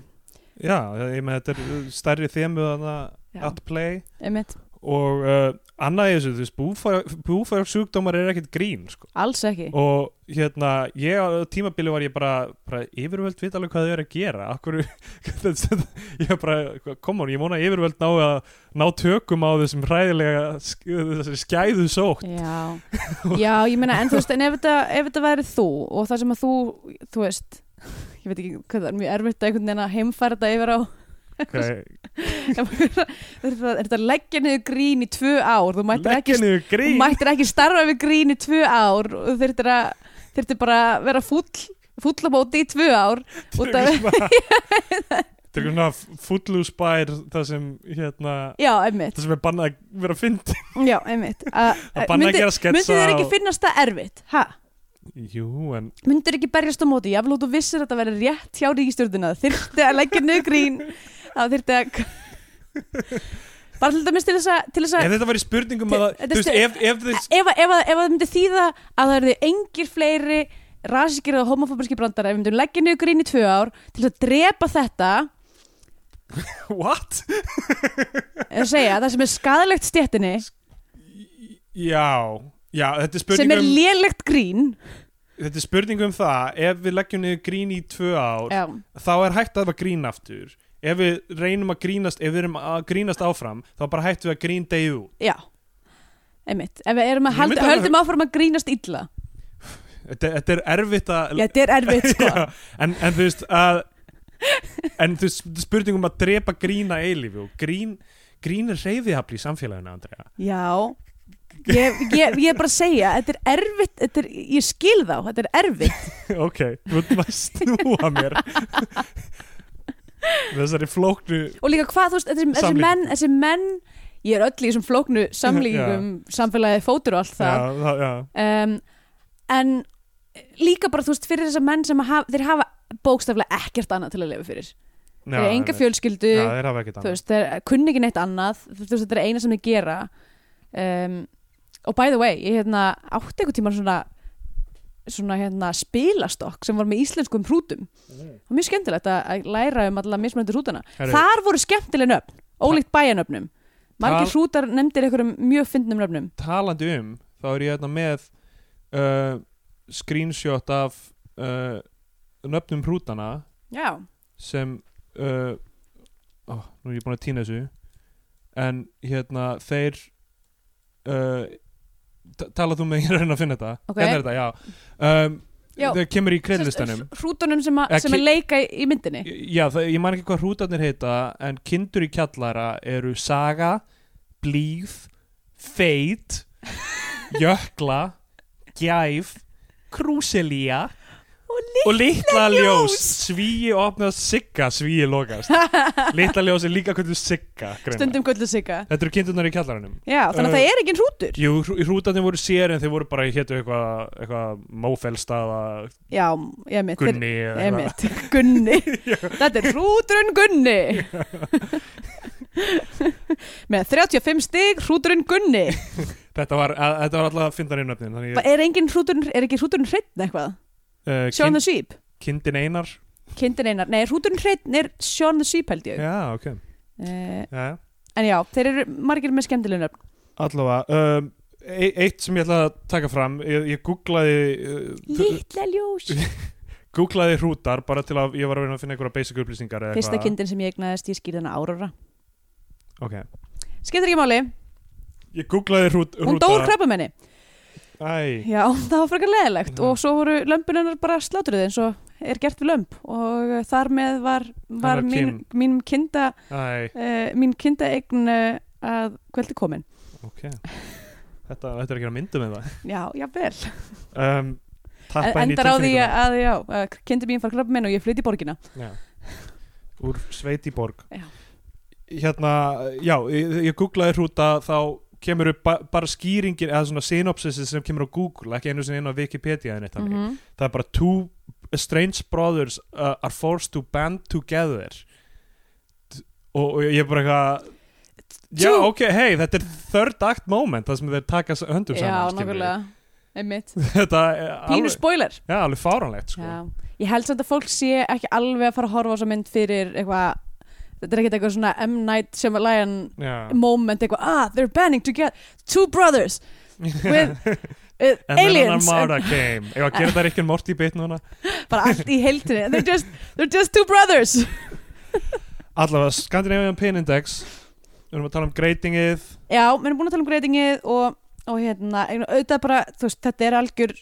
Speaker 2: Já, ég með þetta er uh, stærri þemu þarna
Speaker 3: Já.
Speaker 2: at play
Speaker 3: einmitt,
Speaker 2: og uh, annað í þessu, þú veist, búfæra sjúkdómar er ekkert grín, sko
Speaker 3: alls ekki
Speaker 2: og hérna, ég á tímabili var ég bara, bara yfirvöld vita alveg hvað þau eru að gera akkur, ég var bara, koma hún, ég vona að yfirvöld ná að ná tökum á þessum hræðilega sk- þessari skæðu sótt
Speaker 3: já, já, ég meina en þú veist, en ef þetta, ef þetta væri þú og það sem að þú, þú veist ég veit ekki hvað það er mjög erfitt að einhvern veginn að heimfæra þetta yfir á
Speaker 2: okay.
Speaker 3: er þetta að leggja niður grín í tvö ár þú mættir ekki,
Speaker 2: legginu
Speaker 3: þú
Speaker 2: grín
Speaker 3: mættir ekki starfa við grín í tvö ár og þú þurftir að þurftir bara að vera fúll fúll á móti í tvö ár út af,
Speaker 2: Þetta er svona fullu spær það sem hérna
Speaker 3: já, einmitt
Speaker 2: það sem er bannað að vera fyndi
Speaker 3: já, einmitt að,
Speaker 2: Að banna að gera sketsa
Speaker 3: myndir þér ekki
Speaker 2: og-
Speaker 3: finnast það erfitt ha?
Speaker 2: Jú, en
Speaker 3: myndir ekki berjast á móti ég vil út og vissir að þetta verður rétt hjá ríkistjórnina þurfti að leggja niður grín það þurfti að bara til dæmis til þess að til þess að
Speaker 2: ef þetta væri spurningum að það,
Speaker 3: Þetta
Speaker 2: þú veist,
Speaker 3: stu-
Speaker 2: ef, ef þess
Speaker 3: ef, ef, ef það myndi þýða að það eru engir fleiri rasískir eða homofóbiski brandar ef við myndum leggja niður grín í tvö ár til að drepa þetta
Speaker 2: what?
Speaker 3: eða segja það sem er skadalegt stjættinni
Speaker 2: Já, já, þetta er um-
Speaker 3: sem er
Speaker 2: spurningum
Speaker 3: lélegt grín
Speaker 2: þetta er spurningum það, ef við leggjum niður grín í tvö ár,
Speaker 3: já,
Speaker 2: þá er hægt að það grín aftur ef við reynum að grínast ef við erum að grínast áfram, þá bara hættum við að grín deyðu
Speaker 3: já einmitt, ef við erum
Speaker 2: Ég
Speaker 3: að hald,
Speaker 2: myndi alveg-
Speaker 3: höldum áfram að grínast illa
Speaker 2: þetta, þetta er erfitt að
Speaker 3: já, þetta er erfitt sko
Speaker 2: Já, en, en þú veist að en þú veist spurningum um að drepa grína eilífi og grín, grín er reyðihafli í samfélaginu Andrea
Speaker 3: já Ég, ég, ég er bara að segja, þetta er erfitt þetta er, ég skil þá, þetta er erfitt
Speaker 2: ok, þú ert maður að snúa mér þessari flóknu
Speaker 3: og líka hvað, þú veist, þessi, þessi
Speaker 2: Samlíking.
Speaker 3: menn, þessi menn ég er öll í þessum flóknu samlíkingum samfélagið fótur og allt það
Speaker 2: já, það, já,
Speaker 3: um, en líka bara þú veist fyrir þessar menn sem haf, þeir hafa bókstaflega ekkert annað til að lifa fyrir
Speaker 2: Já,
Speaker 3: þeir eru enga
Speaker 2: einmitt.
Speaker 3: fjölskyldu
Speaker 2: Já, þeir hafa ekkert
Speaker 3: þú
Speaker 2: annað
Speaker 3: veist, þeir kunni ekki neitt annað þú veist, þetta er eina sem þeir gera um, og by the way ég hérna, átti einhvern tímann svona svona hérna spilastokk sem var með íslenskum hrútum og mjög skemmtilegt að, að læra um alla mismunandi hrútana
Speaker 2: Mm. Herru.
Speaker 3: þar voru skemmtileg nöfn, ólíkt bæjanöfnum margir
Speaker 2: Tal-
Speaker 3: hrútar nefndir einhverjum mjög fyndnum nöfnum
Speaker 2: Talandi um, þá er ég hérna með uh, screenshot af uh, nöfnum hrútana
Speaker 3: já,
Speaker 2: sem uh, ó, nú er ég búin að týna þessu en hérna þeir uh, ta- talað þú með ég er að reyna að finna þetta
Speaker 3: Ok.
Speaker 2: hérna er þetta, já, um,
Speaker 3: Já.
Speaker 2: þeir kemur í kreðlistanum
Speaker 3: hrútunum sem, a,
Speaker 2: Eða
Speaker 3: sem
Speaker 2: ki-
Speaker 3: að leika í- í myndinni
Speaker 2: já, það, ég man ekki hvað hrútarnir heita en kindur í kjallara eru saga blíð feit jökla gæf krúselía og litla ljós svíi opnast sigga, svíi lokast litla ljós er líka hvernig sigga greinilega.
Speaker 3: stundum gullu sigga
Speaker 2: þetta eru kindurnar í kjallaranum
Speaker 3: já, þannig að
Speaker 2: Uh,
Speaker 3: það er engin hrútur
Speaker 2: Jú, hrútarnir voru sér en þeir voru bara hétu eitthvað eitthva, mófelstaða
Speaker 3: já, ég mitt, þeir,
Speaker 2: gunni eða eitthvað.
Speaker 3: Emmett, Gunni Þetta er hrúturinn Gunni Með 35 stig hrúturinn Gunni
Speaker 2: þetta var, að, þetta var alltaf að finna í nöfnin þannig
Speaker 3: Er, engin hrúturinn, er ekki hrúturinn hreittn eitthvað?
Speaker 2: uh,
Speaker 3: Sean
Speaker 2: kind,
Speaker 3: the Sheep
Speaker 2: kindin einar
Speaker 3: Kindin einar, nei hrúturinn hreittn er Sean the Sheep held ég
Speaker 2: já, ok
Speaker 3: uh,
Speaker 2: já, já.
Speaker 3: En já, þeir eru margir með skemmtilegna
Speaker 2: allavega um, e eitt sem ég ætla að taka fram ég, ég googlaði uh,
Speaker 3: Lítla ljós
Speaker 2: googlaði hrútar bara til að ég var að reyna að finna einhverja basic upplýsingar eða
Speaker 3: Fyrsta
Speaker 2: eitthvað.
Speaker 3: kindin sem ég egnaðist, ég skýrði hana Aurora
Speaker 2: ok
Speaker 3: Skiptir ekki máli,
Speaker 2: Ég googlaði hrút,
Speaker 3: hún dór krabbumenni
Speaker 2: Æ,
Speaker 3: Já, það var frekar leðilegt
Speaker 2: Já.
Speaker 3: og svo voru lömpunennar bara slátrið eins og er gert við lömp og uh, þar með var, var
Speaker 2: var
Speaker 3: mín, mín kinda
Speaker 2: æ,
Speaker 3: uh, mín kinda eign uh, að kveldi komin.
Speaker 2: ok Þetta, þetta er ekki að mynda með
Speaker 3: Já, já vel.
Speaker 2: það um, Tappa henni í
Speaker 3: Endar á því
Speaker 2: tilfinninguna
Speaker 3: að, já, uh, kindi mín far krabbumenn og ég flytti í borgina.
Speaker 2: Já. Úr sveit í borg
Speaker 3: Já.
Speaker 2: Hérna, já, ég, ég googlaði hrúta þá kemur upp ba bara skýringin eða svona synopsisið sem kemur á Google ekki einu sinni inn á Wikipedia en eitt
Speaker 3: Mm
Speaker 2: þannig Það er bara two strange brothers uh, are forced to band together T- og, og ég er bara eitthvað Já,
Speaker 3: Two-
Speaker 2: ok, hei, þetta er third act moment það sem þeir taka s- höndum
Speaker 3: Já,
Speaker 2: saman skilurðu.
Speaker 3: nákvæmlega. Einmitt.
Speaker 2: þetta er
Speaker 3: Pínu
Speaker 2: alveg,
Speaker 3: spoiler.
Speaker 2: já, alveg fáranlegt sko.
Speaker 3: Já. Ég held samt að fólk sé ekki alveg að fara að horfa á þessa mynd fyrir eitthvað, þetta er ekkert eitthvað svona M. Night Shyamalan
Speaker 2: já.
Speaker 3: moment eitthvað, ah, they're banding together, two brothers with uh,
Speaker 2: and then an
Speaker 3: aliens
Speaker 2: armada came ég var að gera það Rick and Morty bit núna
Speaker 3: bara allt í heiltinni they're just, they're just two brothers
Speaker 2: allavega Scandinavian Pin Index við erum að tala um greitingið
Speaker 3: já, við erum búin að tala um greitingið og, og hérna, einu- auðvitað bara þú veist, þetta er algjör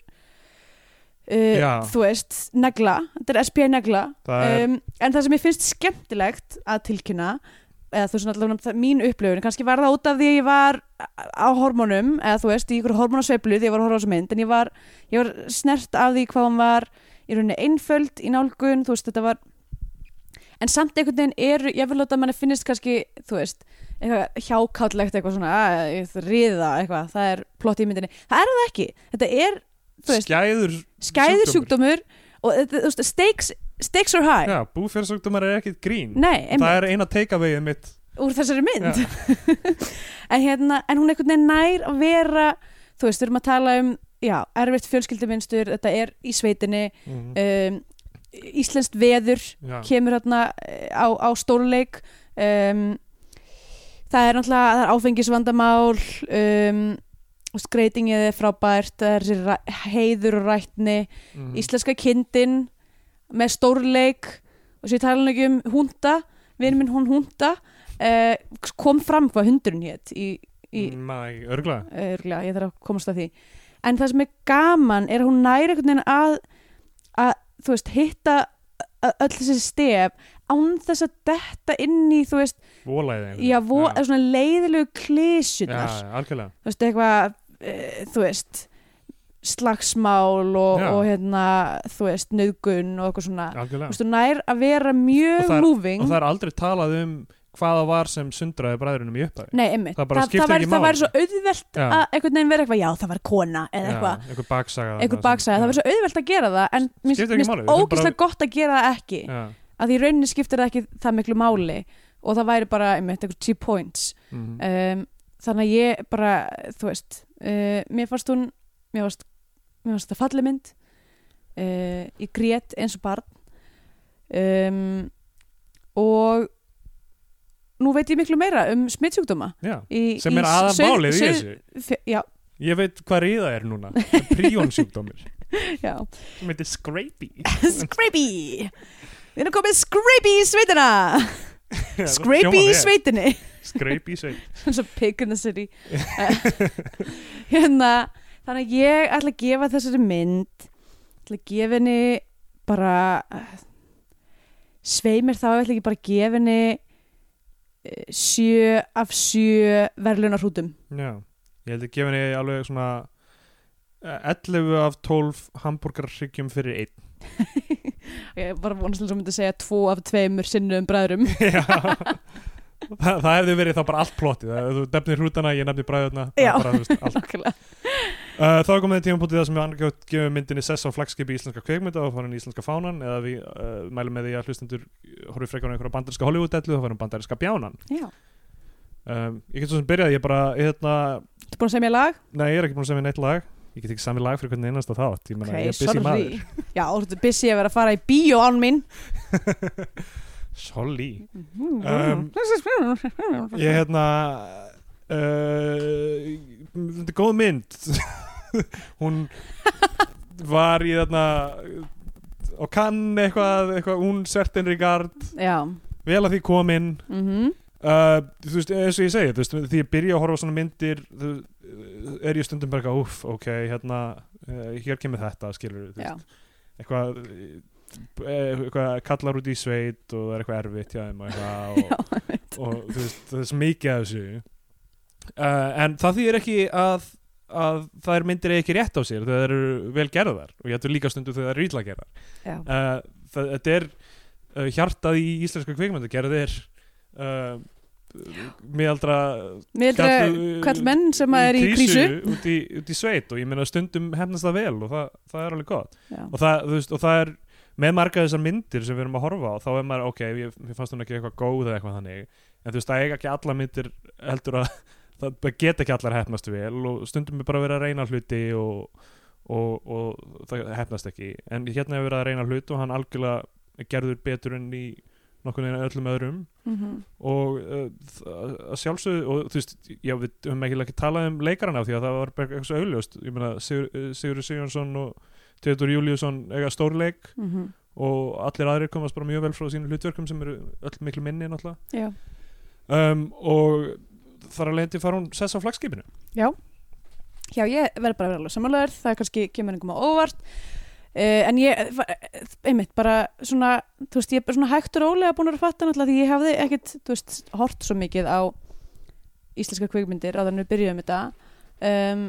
Speaker 3: uh,
Speaker 2: Já.
Speaker 3: þú veist, negla þetta er SPI negla
Speaker 2: það er,
Speaker 3: um, en það sem ég finnst skemmtilegt að tilkynna eða þú veist, allavega það- mín upplöfun kannski var það út af því að ég var á hormónum, eða þú veist, í ykkur hormónasveiflu því ég var að horfa á þessa mynd, en ég var, ég var snert af því hvað hún var í rauninni einföld í nálgun, þú veist, þetta var en samt einhvern veginn eru ég vil láta að manni finnist kannski, þú veist eitthvað hjákállegt, eitthvað svona að, riða, eitthvað, það er plott í myndinni það er það ekki, þetta er þú veist,
Speaker 2: skæður
Speaker 3: skæður
Speaker 2: sjúkdómur.
Speaker 3: sjúkdómur og þetta- þú veist, stakes, stakes are high
Speaker 2: já, búfjársöktumar er ekkit grín
Speaker 3: Nei,
Speaker 2: það
Speaker 3: einmitt,
Speaker 2: er eina teikavegið mitt
Speaker 3: úr þessari mynd en, hérna, en hún einhvern veginn nær að vera þú veist, við erum að tala um já, erfitt fjölskylduminstur, þetta er í sveitinni
Speaker 2: Mhm.
Speaker 3: um, íslenskt veður
Speaker 2: já,
Speaker 3: kemur hérna eh, á, á stórleik um, það er náttúrulega það er áfengisvandamál um, og skreitingið er frábært það er þessi ra- heiður og rætni
Speaker 2: mhm.
Speaker 3: Mm. íslenska kindin með stórleik og svo ég tala nú ekki um húnda vinn minn hún húnda uh, kom fram hvað hundurinn hétt í, í mm.
Speaker 2: Mæ, örgla
Speaker 3: ég þarf að komast að því en það sem er gaman er að hún næri einhvern veginn að, að þú veist, hitta ö- öll þessi stef án þess að detta inn í þú veist,
Speaker 2: Vólæði
Speaker 3: já, vo, eða svona leiðilegu klísunar
Speaker 2: Já, algjörlega
Speaker 3: þú veist, eitthvað, e, þú veist, slagsmál og,
Speaker 2: Já.
Speaker 3: og hérna, þú veist, nöðgun og eitthvað svona.
Speaker 2: Algjörlega
Speaker 3: Þú veist, þú nær að vera
Speaker 2: Og
Speaker 3: mjög
Speaker 2: það er-
Speaker 3: moving.
Speaker 2: og það er aldrei talað um hvaða var sem sundraði bræðrunum í upphafi
Speaker 3: Nei, einmitt.
Speaker 2: Það bara skiptir
Speaker 3: það, væri-
Speaker 2: ekki
Speaker 3: það
Speaker 2: máli.
Speaker 3: væri svo auðvelt
Speaker 2: Já.
Speaker 3: að einhvern veginn vera eitthvað, já það var kona eða eitthvað,
Speaker 2: Já, einhver baksaga þarna
Speaker 3: einhver
Speaker 2: sem-
Speaker 3: baksaga, það væri svo auðvelt að gera það en mér
Speaker 2: Skiptir ekki
Speaker 3: finnst
Speaker 2: máli, við þurfum
Speaker 3: ógeðslega gott að gera það ekki
Speaker 2: já,
Speaker 3: að því í rauninni skiptir það ekki það miklu máli og það væri bara, einmitt, einhver two points
Speaker 2: mhm.
Speaker 3: um, þannig að ég bara, þú veist uh, mér fannst hún mér fannst, mér fannst það falli mynd uh, ég grét eins og barn um, og nú veit ég miklu meira um smittsjúkdóma
Speaker 2: já,
Speaker 3: í,
Speaker 2: sem er
Speaker 3: í
Speaker 2: aða
Speaker 3: sauð-
Speaker 2: málið í
Speaker 3: sauð-
Speaker 2: þessu
Speaker 3: fe- já,
Speaker 2: ég veit hvað ríða er núna príjónsjúkdómir
Speaker 3: já
Speaker 2: sem heitir Scrapey
Speaker 3: Scrapey við erum komið Scrapey í sveitina Scrapey í sveitinni
Speaker 2: Scrapey sveit
Speaker 3: eins og pig in the city Eh, hérna þannig að ég ætla að gefa þessari mynd ætla að gefa henni bara eh, svei mér þá, ég ætla ekki bara að gefa henni eh, sjö af sjö verðlunarhútum
Speaker 2: já, ég held að gefa henni alveg svona eh, 11 af 12 hambúrgarryggjum fyrir einn
Speaker 3: ég var vonast til að myndi segja tvo af tveimur sinnum bræðrum
Speaker 2: Já. Þa, það hefði verið þá bara allt plotið Það- þú nefnir hrútana, ég nefnir bræðuna
Speaker 3: Já.
Speaker 2: bara, þú veist, allt.
Speaker 3: Nákvæmlega.
Speaker 2: uh, þá er komið að tímapunktið það sem við annaðhvort gefum myndinni sess á flagskipi íslenska kveikmynda og farin íslenska fánan eða við uh, mælum með því að hlustendur horfið frekar á einhverja bandarinska Hollywood-dellu þá farin bandarinska bjánan
Speaker 3: já,
Speaker 2: um, ég get svo sem byrjað, ég bara ég, hérna,
Speaker 3: þú búin að segja mér lag?
Speaker 2: nei, ég er ekki búin að segja neitt lag ég get ekki sami lag fyrir hvernig einasta þátt ég, meina,
Speaker 3: Ok,
Speaker 2: ég er busy maður
Speaker 3: já, þú ertu busy að vera að fara í bíó án mín
Speaker 2: sorry
Speaker 3: Mm-hmm.
Speaker 2: Um,
Speaker 3: Oh,
Speaker 2: ég hérna uh, þetta er góð mynd hún var í þarna og kann eitthvað, eitthvað hún Sertin Rigard,
Speaker 3: já,
Speaker 2: vel að því komin
Speaker 3: mhm
Speaker 2: uh, þú veist, eins og ég segi þú veist, því ég byrja að horfa á svona myndir þú, er ég stundum bara eitthvað, úff, ok hérna, uh, hér kemur þetta skilur þú
Speaker 3: já,
Speaker 2: veist, eitthvað eh, eitthvað kallar út í sveit og það er eitthvað erfitt hjá þeim og, eitthvað, og, og þú veist, það er svo mikið af þessu uh, en það þýðir ekki að, að það er myndir eigi ekki rétt á sér þegar það eru vel gerðar og ég ætlur líka stundu þegar það eru ítla gerðar
Speaker 3: já.
Speaker 2: uh, það, þetta er uh, hjartað í íslenska kveikmyndu gerðið er uh, miðaldra
Speaker 3: Miðaldra
Speaker 2: Kall-
Speaker 3: hvern menn eh, sem að er í krísu
Speaker 2: út, í, út í sveit og ég meina stundum hefnast það vel og það, það er alveg gott
Speaker 3: Já.
Speaker 2: og það, þú veist, og það er með marga þessar myndir sem við erum að horfa á þá er maður, ok, ég, ég fannst hún ekki eitthvað góð eða eitthvað þannig, en þú veist, það eiga ekki alla myndir heldur að það það geta ekki allar hefnast vel og stundum er bara verið að reyna hluti og, og, og það hefnast ekki en hérna er verið að reyna hluti og hann algjörlega gerður betur enn í nokkurn veginn öllum öðrum
Speaker 3: Mhm.
Speaker 2: og uh, þ- að sjálfsögðu og þú veist, já við höfum ekki ekki talað um leikarana því að það var bara eitthvað svo auðljóst ég meina Sigur, eh, Sigurður Sigjónsson og Teodor Júliusson eiga stórleik
Speaker 3: Mhm.
Speaker 2: og allir aðrir komast bara mjög vel frá sínum hlutverkum sem eru öll miklu minni náttúrulega
Speaker 3: Já.
Speaker 2: um, og þar að leiðandi fara hún sess á flagskipinu
Speaker 3: já, ég verð bara að vera alveg samanlegar það er kannski kemur einhverjum á óvart uh, en ég, eh, einmitt bara svona, þú veist, ég er bara svona hægt og rólega búin að vera að fatta náttúrulega því ég hafði ekkit þú veist, hort svo mikið á íslenska kveikmyndir á þannig við byrjuðum þetta um,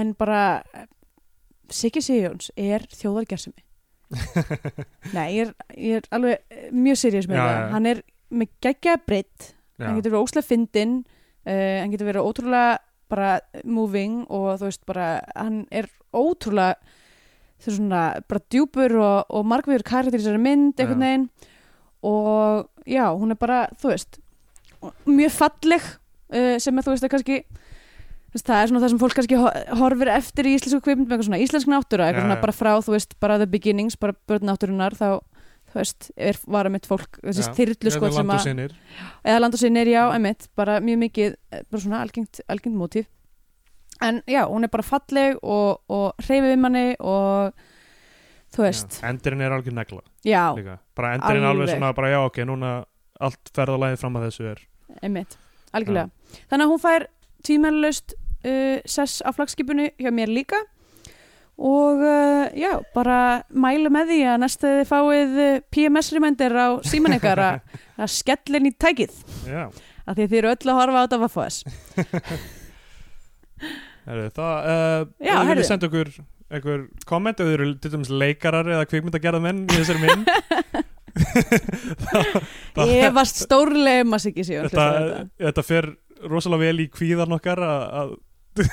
Speaker 3: en bara Siggi Sigjóns er þjóðargersumi Nei, ég er, ég er alveg eh, mjög seriós með
Speaker 2: Já,
Speaker 3: það,
Speaker 2: já.
Speaker 3: hann er með geggjaða breytt hann getur verið óslega fyndinn uh, hann getur verið ótrúlega bara moving og þú veist bara hann er ótrúlega þú veist svona bara djúpur og, og margvegur karakter í þessari mynd einhvern
Speaker 2: Já.
Speaker 3: veginn og já, hún er bara, þú veist mjög falleg uh, sem að þú veist að kannski þú veist, það er svona það sem fólk kannski ho- horfir eftir í íslensku kveipmynd með eitthvað svona íslensk náttúra
Speaker 2: Já,
Speaker 3: eitthvað
Speaker 2: já.
Speaker 3: svona bara frá, þú veist, bara the beginnings bara börn náttúrunar, þá þú veist, er, var að mitt fólk, þessi þyrlu sko sem að
Speaker 2: Sinir,
Speaker 3: eða land og sinni er já, emitt, bara mjög mikið eh, bara svona algengt, algengt mótíf en já, hún er bara falleg og, og hreyfi við manni og þú veist,
Speaker 2: já. endurinn er algjör negla
Speaker 3: já,
Speaker 2: líka. bara endurinn alveg.
Speaker 3: Alveg.
Speaker 2: svona, bara já ok núna allt ferðalagið fram að þessu er
Speaker 3: emitt, algjörlega þannig að hún fær tímælalaust uh, sess á flagskipinu hjá mér líka og uh, já, bara mælu með því að næstu þið fáið eh, PMS-rimendir á síman ykkar að, að skellin í tækið
Speaker 2: já
Speaker 3: af því að þið eru öll að horfa á þetta vaffas
Speaker 2: Herru, það, uh,
Speaker 3: Já,
Speaker 2: ef þið
Speaker 3: heyrðu.
Speaker 2: viljið senda okkur einhver komment ef þið eru til dæmis leikarar eða kvikmyndagerðamenn í þessari mynd
Speaker 3: Ég varst stórlega um að sig ekki sé
Speaker 2: þetta, þetta. fer rosalega vel í kvíðan okkar að, að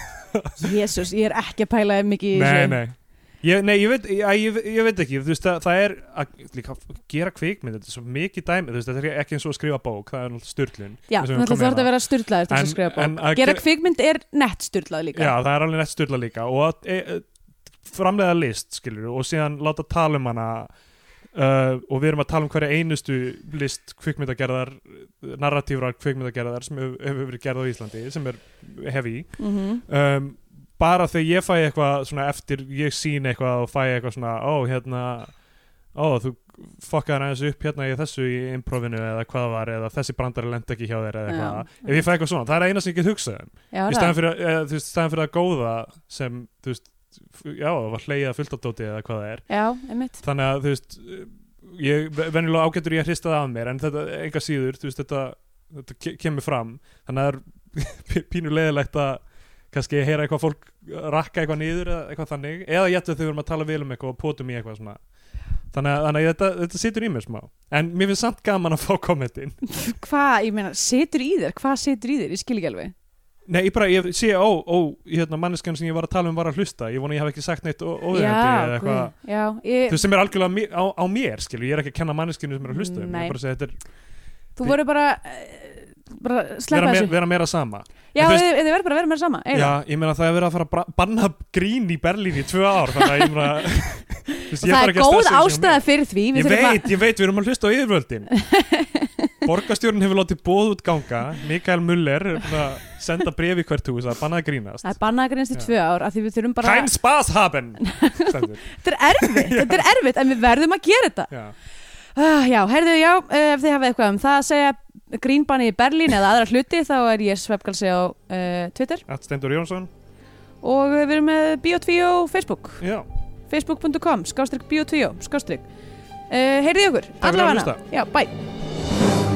Speaker 3: Jésús, ég er ekki að pæla mikið í
Speaker 2: nei,
Speaker 3: þessu.
Speaker 2: nei Ég, nei, ég veit, ég, ég, ég veit ekki, þú veist, það, það er að líka, gera kvikmynd, þetta er svo mikið dæmi, þú veist, þetta er ekki eins og að skrifa bók, það er náttúrulega styrlun.
Speaker 3: Já,
Speaker 2: Þessu við
Speaker 3: þannig
Speaker 2: komum
Speaker 3: að þú þarf
Speaker 2: hérna.
Speaker 3: að vera styrlaður til þess að
Speaker 2: En-
Speaker 3: skrifa
Speaker 2: en
Speaker 3: bók.
Speaker 2: að
Speaker 3: Gera
Speaker 2: ge-
Speaker 3: kvikmynd er nett styrlað líka.
Speaker 2: Já, það er alveg nætt styrla líka og að, e, e, framleiða list, skilur og síðan láta tala um hana uh, og við erum að tala um hverja einustu list kvikmyndagerðar, narratífrar kvikmyndagerðar sem hefur hef verið gerð á Íslandi sem er heavy
Speaker 3: Mhm.
Speaker 2: um, bara þegar ég fæ eitthvað svona eftir ég sín eitthvað og fæ eitthvað svona ó hérna ó þú fokkaðar aðeins upp hérna í þessu í improvinu eða hvað það var eða þessi brandari lent ekki hjá þér eða
Speaker 3: Já.
Speaker 2: eitthvað ef ég fæ eitthvað svona, það er eina sem ég get hugsað um í
Speaker 3: Já, það.
Speaker 2: staðan fyrir, eða, þú veist, staðan fyrir að góða sem, þú veist, f- já, það var hleyjað fullt af dóti eða hvað það er
Speaker 3: Já, einmitt.
Speaker 2: þannig að, þú veist, ég venjulega ágætur ég að hrista það af mér en þetta, enga síður, þú veist, þetta, þetta ke- kemur fram, þannig að það er pínu leiðilegt að kannski heyra eitthvað fólk rakka eitthvað niður eða eitthvað þannig, eða jættu þau verðum að tala vel um eitthvað og pótum í eitthvað svona þannig að, þannig að þetta, þetta situr í mér smá en mér finnst samt gaman að fá kommentin
Speaker 3: Hvað, ég meina, setur í þér? Hvað setur í þér? Ég skil ekki alveg.
Speaker 2: Nei, ég bara, ég sé, ó, ó, hérna, manneskan sem ég var að tala um var að hlusta, ég vona ég hef ekki sagt neitt óðeigandi eða
Speaker 3: Já,
Speaker 2: eitthvað,
Speaker 3: guð. Já, ég,
Speaker 2: þú veist, sem er algjörlega mi- á, á mér, skilju, ég er ekki að kenna manneskinu sem er að hlusta, um, ég
Speaker 3: Nei.
Speaker 2: er bara að segja, þetta
Speaker 3: þú voru bara, eh, bara
Speaker 2: er
Speaker 3: sleppa
Speaker 2: vera, me,
Speaker 3: þessu.
Speaker 2: vera meira sama.
Speaker 3: Já,
Speaker 2: en þú
Speaker 3: þið
Speaker 2: veist-
Speaker 3: þið verður bara að vera meira sama. eiginlega.
Speaker 2: Já, ég meina það er verið að fara að bra- banna grín í Berlín í tvö ár, þannig að ég meina, þú veist,
Speaker 3: Og það er
Speaker 2: að stressa
Speaker 3: góð
Speaker 2: þessu hjá mér.
Speaker 3: ástæða fyrir því. við
Speaker 2: Ég
Speaker 3: þurfum að-
Speaker 2: veit, ég veit, við erum að hlusta á yfirvöldin Borgarstjórn hefur látið bóð út ganga Mikael Muller er búinn að senda brefi hvert hús að banna að grínast
Speaker 3: Það er bannað að greinast í
Speaker 2: Já.
Speaker 3: tvö ár af því við þurfum bara
Speaker 2: Kein Spaß haben stendur.
Speaker 3: Þetta er erfitt, þetta er erfitt en við verðum að gera þetta
Speaker 2: Já.
Speaker 3: uh, Já, heyrðu, já, uh, ef þið hafið eitthvað um það að segja grínbanni í Berlín eða aðra hluti þá er ég svefgalsi á uh, Twitter
Speaker 2: At Stendur Jónsson
Speaker 3: og við erum með Biotvíó Facebook
Speaker 2: Já,
Speaker 3: facebook.com, skástrík Biotvíó, skástrík uh, Heyrðu í okkur,
Speaker 2: fyrir að
Speaker 3: allavega
Speaker 2: hlusta.
Speaker 3: Já, bæ